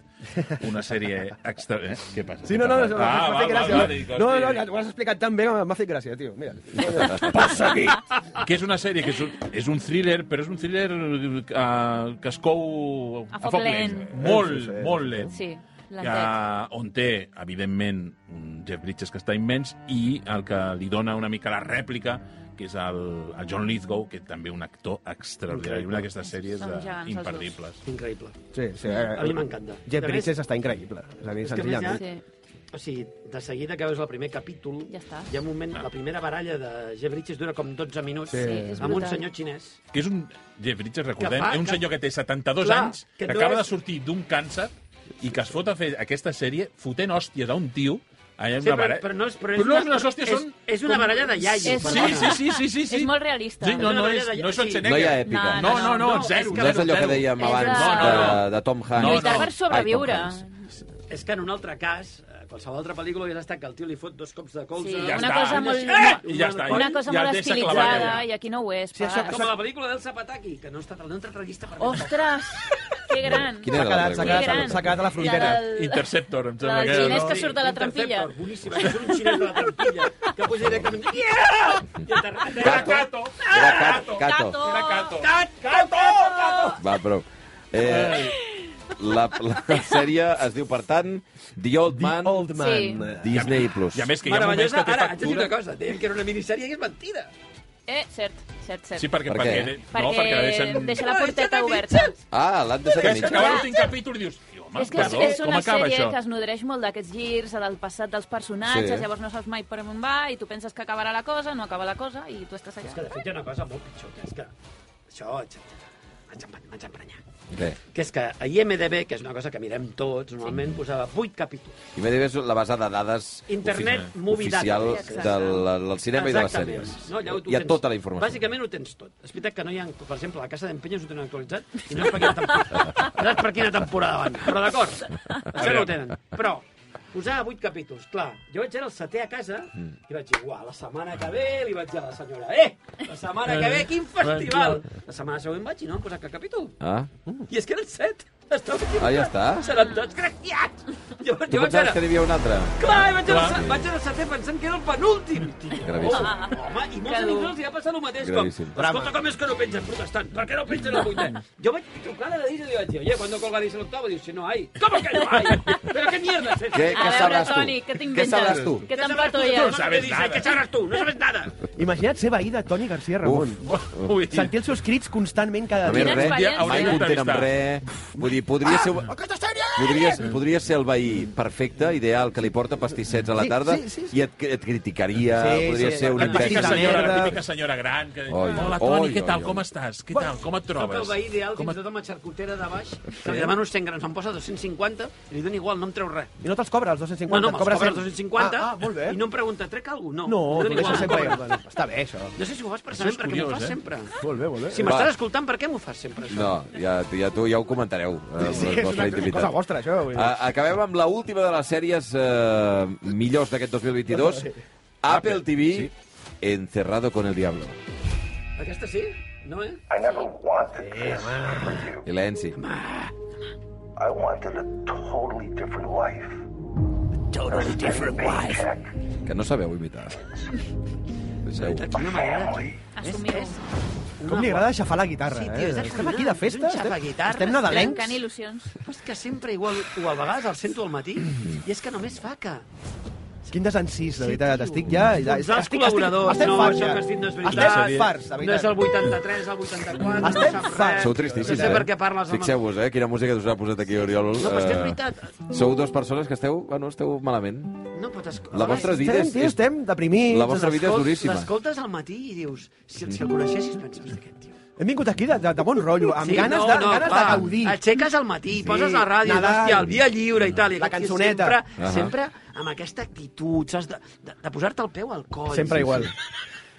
Speaker 6: Una sèrie extra... Eh? Què passa?
Speaker 4: Sí,
Speaker 6: Què
Speaker 4: no, no, no,
Speaker 6: passa? Ah,
Speaker 4: no m'ha
Speaker 6: va,
Speaker 4: fet
Speaker 6: va,
Speaker 4: gràcia.
Speaker 6: va, dic,
Speaker 4: no,
Speaker 6: hòstia.
Speaker 4: no, que ho has explicat tan bé que m'ha fet gràcia, tio. Mira.
Speaker 6: que és una sèrie que és un, és un thriller, però és un thriller eh, que es cou
Speaker 5: A foc lent.
Speaker 6: Molt,
Speaker 4: Sí, sí, sí.
Speaker 6: molt lent.
Speaker 5: Sí,
Speaker 6: que,
Speaker 5: l'entenc.
Speaker 6: on té, evidentment, un Jeff Bridges que està immens i el que li dona una mica la rèplica que és el, el John Lithgow, que també un actor extraordinari. Una d'aquestes sèries
Speaker 5: Són
Speaker 6: de,
Speaker 5: gegants, els
Speaker 6: imperdibles.
Speaker 7: Increïble.
Speaker 4: Sí, sí. eh,
Speaker 7: A mi m'encanta.
Speaker 4: Jeff
Speaker 7: A més-
Speaker 4: Bridges està increïble. És
Speaker 7: que
Speaker 4: a dir,
Speaker 7: a més
Speaker 4: senzillament.
Speaker 5: Sí.
Speaker 7: O sigui, de seguida que veus el primer capítol,
Speaker 5: Ja està.
Speaker 7: hi ha un moment, la primera baralla de Jeff Bridges dura com 12 minuts,
Speaker 4: Sí,
Speaker 5: és
Speaker 7: amb un
Speaker 5: brutal.
Speaker 7: senyor xinès.
Speaker 6: Que és un... Jeff Bridges, recordem,
Speaker 7: Que fa-
Speaker 6: és un
Speaker 7: que-
Speaker 6: senyor que té 72
Speaker 7: Clar,
Speaker 6: anys,
Speaker 7: que
Speaker 6: que,
Speaker 7: no
Speaker 6: acaba
Speaker 7: és-
Speaker 6: de sortir d'un càncer i que es fot a fer aquesta sèrie fotent hòsties a un tio Allà en
Speaker 7: Sí,
Speaker 6: una
Speaker 7: però,
Speaker 6: baralla...
Speaker 7: però no és... Però,
Speaker 6: Però no és les hòsties,
Speaker 7: és,
Speaker 6: són-
Speaker 7: És una baralla de iaios.
Speaker 5: És
Speaker 6: Sí,
Speaker 5: molt-
Speaker 6: sí, sí, sí, sí, sí.
Speaker 5: És molt realista.
Speaker 6: Sí, no,
Speaker 7: És una
Speaker 6: no
Speaker 7: baralla
Speaker 6: és,
Speaker 7: de-
Speaker 6: no és
Speaker 7: sí.
Speaker 1: No hi
Speaker 6: Schwarzenegger.
Speaker 1: ha èpica.
Speaker 6: No, no, no,
Speaker 7: No,
Speaker 6: zero,
Speaker 7: és que-
Speaker 1: No és
Speaker 6: zero,
Speaker 1: allò que
Speaker 6: zero.
Speaker 1: dèiem
Speaker 5: És
Speaker 1: abans
Speaker 5: a-
Speaker 1: de,
Speaker 6: No, no.
Speaker 1: de Tom Hanks.
Speaker 5: Lluitar
Speaker 6: no.
Speaker 5: per sobreviure.
Speaker 1: Ai, Tom Hanks.
Speaker 7: És que en un altre cas, eh, qualsevol altra pel·lícula hauria estat que el tio li fot dos cops de colze.
Speaker 5: Sí,
Speaker 6: Ja
Speaker 5: una
Speaker 6: està.
Speaker 5: cosa molt...
Speaker 6: Eh! I ja està.
Speaker 5: Una cosa
Speaker 6: Ja
Speaker 5: molt
Speaker 6: el deixa clavat
Speaker 5: estilitzada,
Speaker 6: allà.
Speaker 5: i aquí no ho és.
Speaker 4: Sí, això-
Speaker 5: pas.
Speaker 7: Com a la pel·lícula del Zapataki, que no ha estat el nostre tragista per
Speaker 5: Ostres, que gran.
Speaker 1: Quina
Speaker 4: S'ha
Speaker 1: era
Speaker 4: quedat,
Speaker 1: l'altra?
Speaker 4: s'ha
Speaker 5: Que
Speaker 4: quedat,
Speaker 5: gran.
Speaker 4: s'ha quedat a la frontera.
Speaker 5: La del-
Speaker 6: Interceptor, em
Speaker 5: La
Speaker 6: sembla
Speaker 5: del
Speaker 6: que era,
Speaker 5: xinès
Speaker 6: no?
Speaker 5: que surt de la trampilla.
Speaker 7: Interceptor, Boníssima, és un xinès de la trampilla, que puja directament... Yeah! I aterra- aterra-
Speaker 6: Cato.
Speaker 1: Era Cat, Cato.
Speaker 6: Era Cato.
Speaker 1: Va, prou. Eh, la, la sèrie es diu, per tant, The Old Man,
Speaker 4: The Old Man.
Speaker 5: Sí.
Speaker 1: Disney+. Plus.
Speaker 6: I a més que hi ha moments
Speaker 7: Meravellosa,
Speaker 6: que té
Speaker 7: ara, haig de dir
Speaker 6: factura...
Speaker 7: una cosa, deien que era una minissèrie i és mentida.
Speaker 5: Eh, cert, cert, cert.
Speaker 6: Sí, perquè,
Speaker 1: Per
Speaker 6: perquè,
Speaker 1: què?
Speaker 6: no, perquè la deixen...
Speaker 5: deixa la
Speaker 7: Ah,
Speaker 5: porteta
Speaker 7: deixa de
Speaker 5: oberta.
Speaker 7: mitges.
Speaker 1: Ah, l'han deixat
Speaker 6: Que
Speaker 1: a
Speaker 6: és que
Speaker 1: mitja.
Speaker 6: acaba l'últim capítol i dius... Tio, Home,
Speaker 5: és que és,
Speaker 6: perdó,
Speaker 5: és
Speaker 6: com
Speaker 5: una
Speaker 6: acaba
Speaker 5: sèrie
Speaker 6: això?
Speaker 5: que es nodreix molt d'aquests girs, del passat dels personatges,
Speaker 1: Sí.
Speaker 5: sí. llavors no saps mai per on va i tu penses que acabarà la cosa, no acaba la cosa i tu estàs allà.
Speaker 7: És que, de fet, hi ha una cosa molt pitjor, que és que... Això... Vaig emprenyar. Vaig emprenyar.
Speaker 1: Bé.
Speaker 7: Que és que a IMDB, que és una cosa que mirem tots, normalment sí. posava 8 capítols.
Speaker 1: I m'he de veure la base de dades
Speaker 7: Internet
Speaker 1: ofici-
Speaker 7: Movie
Speaker 1: oficial
Speaker 7: Database.
Speaker 1: del,
Speaker 7: Exacte.
Speaker 1: del cinema i de les
Speaker 7: Exactament.
Speaker 1: sèries.
Speaker 7: No, allà ho- tu
Speaker 1: hi ha
Speaker 7: tens-
Speaker 1: tota la informació.
Speaker 7: Bàsicament ho tens tot. És veritat que no hi ha... Per exemple, la Casa d'Empenyes ho tenen actualitzat i no és per quina temporada, no és per quina temporada van. Però d'acord, això no ho tenen. Però posava vuit capítols, clar. Jo vaig anar al setè a casa
Speaker 1: Mm.
Speaker 7: i vaig dir, uah, la setmana que ve li vaig dir a la senyora, eh, la setmana que ve, quin festival! La setmana següent vaig i no em posat cap capítol.
Speaker 1: Ah?
Speaker 7: I és que eren set. Estava equivocat.
Speaker 1: Ah, ja està.
Speaker 7: Seran tots graciats. Llavors,
Speaker 1: Tu
Speaker 7: jo vaig
Speaker 1: pensaves
Speaker 7: anar...
Speaker 1: que n'hi havia un altre?
Speaker 7: Clar, i vaig anar,
Speaker 1: Clar.
Speaker 7: al- vaig anar al setè pensant que era el penúltim.
Speaker 1: Gravíssim.
Speaker 7: Oh, home, i molts
Speaker 5: Que
Speaker 7: amics
Speaker 5: dur.
Speaker 7: els hi va passar el mateix.
Speaker 1: Gravíssim.
Speaker 7: Com, escolta, com és que no pengen protestant? Per què no pengen el vuitè? Jo vaig trucar a la Disney i li vaig dir, oye, ¿cuándo colgaréis el octavo? Diu, si no hay. ¿Cómo que no hay? ¿Pero qué mierda es esta?
Speaker 1: Què, què
Speaker 5: a veure,
Speaker 1: sabràs tu?
Speaker 5: Toni, què
Speaker 1: Què
Speaker 5: t'inventes?
Speaker 1: sabràs tu?
Speaker 5: Què
Speaker 7: ¿Qué sabrás tú?
Speaker 5: t'empatolles?
Speaker 7: No sabes nada. ¿Qué sabrás tú? No sabes nada.
Speaker 4: Imagina't ser veí de Toni García Ramon.
Speaker 6: Ui.
Speaker 4: Sentir els seus crits constantment cada
Speaker 1: No ve
Speaker 4: dia.
Speaker 5: Quina
Speaker 1: res,
Speaker 5: experiència.
Speaker 1: mai content amb res. Vull dir, podria ser...
Speaker 4: ah,
Speaker 1: Podries, podries ser el veí perfecte, ideal, que li porta pastissets a la
Speaker 4: Sí,
Speaker 1: tarda
Speaker 4: sí, sí, sí.
Speaker 1: i et, et criticaria,
Speaker 4: Sí,
Speaker 1: podria
Speaker 4: sí,
Speaker 1: ser un
Speaker 4: la típica
Speaker 6: típica
Speaker 4: Aquesta
Speaker 1: imbècil.
Speaker 6: senyora,
Speaker 4: merda.
Speaker 6: típica senyora gran que diu,
Speaker 1: Oi,
Speaker 6: hola Toni,
Speaker 1: oi,
Speaker 6: què tal,
Speaker 1: oi,
Speaker 6: com
Speaker 1: oi.
Speaker 6: estàs? Què tal, com et
Speaker 7: Soc el
Speaker 6: trobes?
Speaker 7: veí ideal,
Speaker 6: Com
Speaker 7: fins i
Speaker 6: et...
Speaker 7: tot amb la xarcutera de baix, que li demano 100 grams, em posa 250 i li dono igual, no em treu res.
Speaker 4: I no te'ls cobra, els 250?
Speaker 7: No, no, me'ls
Speaker 4: Cobra
Speaker 7: cobra
Speaker 4: 100.
Speaker 7: 250
Speaker 4: Ah, ah, molt bé.
Speaker 7: i no em pregunta, trec alguna cosa?
Speaker 4: No,
Speaker 7: No,
Speaker 4: tu deixes sempre...
Speaker 7: igual.
Speaker 4: Bueno, està bé, això.
Speaker 7: No sé si ho fas per
Speaker 6: Això és
Speaker 7: saber, perquè m'ho
Speaker 6: curiós,
Speaker 7: fas
Speaker 6: eh?
Speaker 7: sempre.
Speaker 4: Molt bé, molt bé.
Speaker 7: Si
Speaker 1: Va.
Speaker 7: m'estàs escoltant, per què m'ho fas sempre, això?
Speaker 1: No, ja, ja, tu, ja ho comentareu, eh, amb la
Speaker 4: és
Speaker 1: vostra
Speaker 4: una
Speaker 1: intimitat.
Speaker 4: cosa vostra, això. vull dir.
Speaker 1: A- Acabem amb la última de les sèries eh, millors d'aquest 2022. Apple TV, Encerrado con el Diablo.
Speaker 7: Aquesta sí? No, eh?
Speaker 18: I never wanted this.
Speaker 1: I la Ensi.
Speaker 18: I wanted a totally different life. Totally different life.
Speaker 1: Que no sabeu imitar. Deixeu.
Speaker 7: Una m'agrada.
Speaker 5: Assumides,
Speaker 4: Com li agrada aixafar la guitarra,
Speaker 7: Sí, tio,
Speaker 4: eh?
Speaker 7: és
Speaker 4: Estem aquí de festa,
Speaker 7: és un
Speaker 4: estem,
Speaker 7: xafaguitarra,
Speaker 4: estem nadalencs.
Speaker 5: trencant il·lusions.
Speaker 7: Però és que sempre igual, o a vegades el sento al matí i és que només fa que...
Speaker 4: Quin desencís, de veritat.
Speaker 7: tio.
Speaker 4: Estic ja... ja
Speaker 7: Els alts
Speaker 4: estic,
Speaker 7: col·laboradors,
Speaker 4: estem
Speaker 7: no,
Speaker 4: farts,
Speaker 7: això
Speaker 4: ja.
Speaker 7: que has dit no és
Speaker 4: Estem
Speaker 7: veritat.
Speaker 4: farts, de
Speaker 7: No és
Speaker 4: veritat.
Speaker 7: el 83, el 84, no
Speaker 4: Estem
Speaker 7: saps
Speaker 4: farts.
Speaker 7: res.
Speaker 1: Sou tristíssims,
Speaker 7: No sé
Speaker 1: eh?
Speaker 7: per què parles amb...
Speaker 1: Fixeu-vos, eh, quina música us ha posat aquí, Oriol.
Speaker 7: No, però és que és
Speaker 1: Eh,
Speaker 7: veritat.
Speaker 1: Sou dues persones que esteu, bueno, esteu malament.
Speaker 7: No, però t'esco-
Speaker 1: La vostra vida
Speaker 4: Estem,
Speaker 1: és...
Speaker 4: tio,
Speaker 1: és...
Speaker 4: estem deprimits.
Speaker 1: La vostra vida és
Speaker 7: l'escoltes-
Speaker 1: duríssima.
Speaker 7: L'escoltes al matí i dius, si, si el coneixessis, penses aquest tio.
Speaker 4: Hem vingut aquí de, de, de bon rotllo, amb ganes, de, amb ganes de
Speaker 7: clar.
Speaker 4: gaudir.
Speaker 7: Aixeques al matí,
Speaker 4: Sí,
Speaker 7: poses la ràdio,
Speaker 4: Nadal.
Speaker 7: Nadal. hòstia, el dia lliure i tal. I
Speaker 4: La
Speaker 7: aquest tio
Speaker 4: cançoneta.
Speaker 7: Sempre,
Speaker 1: Ahà.
Speaker 7: sempre amb aquesta actitud, saps, de, de, de posar-te el peu al coll.
Speaker 4: Sempre igual.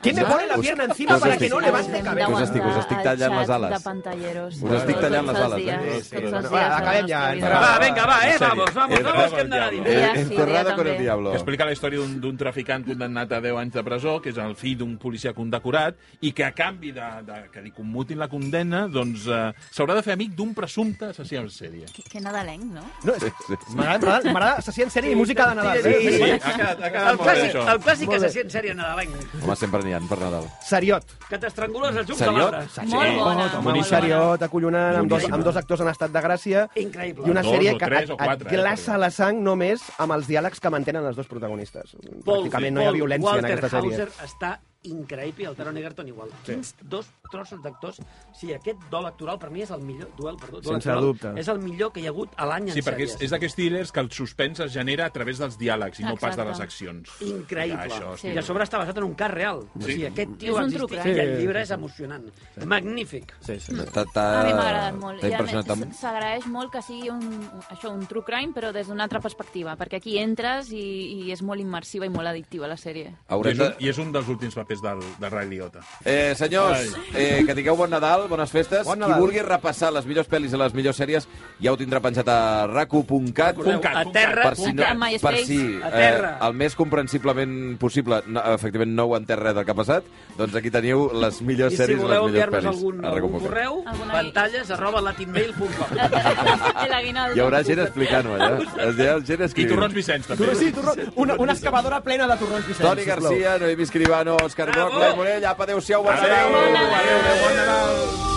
Speaker 4: ¿Quién me
Speaker 1: Us-
Speaker 4: pone la
Speaker 1: us-
Speaker 4: pierna encima
Speaker 1: us
Speaker 4: para que
Speaker 1: estic-
Speaker 4: no levante
Speaker 5: Hem
Speaker 4: cabeza?
Speaker 1: Us estic- us estic
Speaker 5: d'aguantar
Speaker 1: tallant
Speaker 5: el
Speaker 1: les
Speaker 5: xat
Speaker 1: ales.
Speaker 5: eh, de pantalleros.
Speaker 1: Us estic tallant les
Speaker 5: Tots
Speaker 1: ales,
Speaker 5: els
Speaker 1: eh?
Speaker 5: dies,
Speaker 4: Sí, sí.
Speaker 5: tots els
Speaker 4: Va,
Speaker 5: dies
Speaker 4: acabem
Speaker 5: de
Speaker 4: ja,
Speaker 5: la nostra
Speaker 4: entra.
Speaker 5: vida.
Speaker 7: Va, vinga, va, eh,
Speaker 6: Sèrie.
Speaker 7: vamos, vamos,
Speaker 1: Encerrado
Speaker 7: vamos, que hem
Speaker 6: al
Speaker 7: d'anar a
Speaker 6: diablo.
Speaker 1: Eh,
Speaker 7: dinar.
Speaker 5: Ja, sí,
Speaker 1: Encerrado
Speaker 5: ja
Speaker 1: con el
Speaker 5: també.
Speaker 1: Diablo.
Speaker 6: Que explica la història d'un d'un traficant condemnat a 10 anys de presó, que és el fill d'un policia condecorat, i que a canvi de, de que li commutin la condemna, doncs eh, s'haurà de fer amic d'un presumpte assassí en sèrie.
Speaker 5: Que, que nadalenc, no?
Speaker 4: No, és- M'agrada, m'agrada, m'agrada, se sent sèrie i música de Nadal.
Speaker 7: Sí,
Speaker 6: Sí,
Speaker 7: sí.
Speaker 6: ha quedat, ha
Speaker 7: El
Speaker 6: quedat molt bé,
Speaker 7: clàssic,
Speaker 6: això.
Speaker 7: el clàssic
Speaker 4: Molt
Speaker 7: que
Speaker 4: bé.
Speaker 7: se sent sèrie nadalenc,
Speaker 1: Home, sempre n'hi ha per Nadal.
Speaker 4: Seriot.
Speaker 7: que t'estrangules els llums a
Speaker 1: Seriot?
Speaker 7: l'hora.
Speaker 5: Sí. Molt bona.
Speaker 4: Home,
Speaker 5: molt
Speaker 4: un
Speaker 6: boníssima.
Speaker 5: bona.
Speaker 4: seriot, acollonant, amb dos,
Speaker 6: Boníssima.
Speaker 4: amb dos actors en estat de gràcia.
Speaker 7: Increïble.
Speaker 4: I una
Speaker 6: Dos
Speaker 4: sèrie
Speaker 6: o
Speaker 4: que
Speaker 6: tres
Speaker 4: et,
Speaker 6: o quatre,
Speaker 4: et
Speaker 6: eh,
Speaker 4: glaça
Speaker 6: perquè-
Speaker 4: la sang només amb els diàlegs que mantenen els dos protagonistes.
Speaker 7: Paul,
Speaker 4: Pràcticament no hi ha
Speaker 7: Paul
Speaker 4: violència
Speaker 7: Walter
Speaker 4: en aquesta sèrie.
Speaker 7: Hauser està increïble i el Taron Egerton igual. Quins dos trossos d'actors. O sigui, aquest duel actoral per mi és el millor duel, perdó, duel
Speaker 4: Sense
Speaker 7: actoral,
Speaker 4: dubte.
Speaker 7: És el millor que hi ha hagut a l'any en
Speaker 6: Sí, perquè és,
Speaker 7: sèries.
Speaker 6: és d'aquests thrillers que el suspens es genera a través dels diàlegs i no pas de les accions.
Speaker 7: Increïble.
Speaker 6: Ja, això,
Speaker 5: Sí.
Speaker 7: I a sobre està basat en un cas real. O sigui, aquest tio
Speaker 5: És un
Speaker 7: existeix
Speaker 5: truc,
Speaker 7: i
Speaker 5: eh?
Speaker 7: el llibre és emocionant. Magnífic.
Speaker 4: Sí, sí.
Speaker 1: T'ha- t'ha-
Speaker 5: A mi m'ha agradat molt.
Speaker 1: Eh, T'ha
Speaker 5: I a
Speaker 1: impressionat
Speaker 5: més,
Speaker 1: amb...
Speaker 5: S'agraeix molt que sigui un, això, un true crime, però des d'una altra perspectiva, perquè aquí entres i, i és molt immersiva i molt addictiva la sèrie.
Speaker 6: I és,
Speaker 1: Haurem
Speaker 6: un,
Speaker 1: de...
Speaker 6: I és un dels últims papers del, de Ray Liotta.
Speaker 1: Eh, senyors, eh, que tingueu bon Nadal, bones festes.
Speaker 4: Bon
Speaker 1: Qui
Speaker 4: Nadal.
Speaker 1: vulgui repassar les millors pel·lis i les millors sèries ja ho tindrà penjat a racu.cat.
Speaker 6: Punt cat,
Speaker 7: a
Speaker 6: punt cat.
Speaker 7: terra,
Speaker 1: Per si, no,
Speaker 5: A MySpace.
Speaker 1: per si
Speaker 7: A
Speaker 1: eh,
Speaker 7: terra.
Speaker 1: el més comprensiblement possible, no, efectivament no ho entès res del que ha passat, doncs aquí teniu les millors
Speaker 7: I si
Speaker 1: sèries i les
Speaker 7: voleu
Speaker 1: millors
Speaker 7: enviar-nos
Speaker 1: pel·lis.
Speaker 7: algun,
Speaker 1: a
Speaker 7: algun
Speaker 1: racu.cat.
Speaker 7: correu,
Speaker 5: Alguna-
Speaker 7: pantalles arroba latinmail.com.
Speaker 5: El aguinaldo.
Speaker 1: Hi haurà gent explicant-ho allà. Hi haurà gent
Speaker 6: I
Speaker 1: escrivint.
Speaker 6: Torrons Vicenç, també.
Speaker 4: Tu, sí, tu, una, una excavadora plena de torrons, Vicenç,
Speaker 1: Toni
Speaker 4: sisplau.
Speaker 1: Garcia, Noemí Escribano, Òscar Broc,
Speaker 7: Bravo!
Speaker 1: Blai Morell, apa, adéu-siau, bon
Speaker 6: Adéu,
Speaker 1: Nadal!
Speaker 6: adéu, adéu, bon Nadal.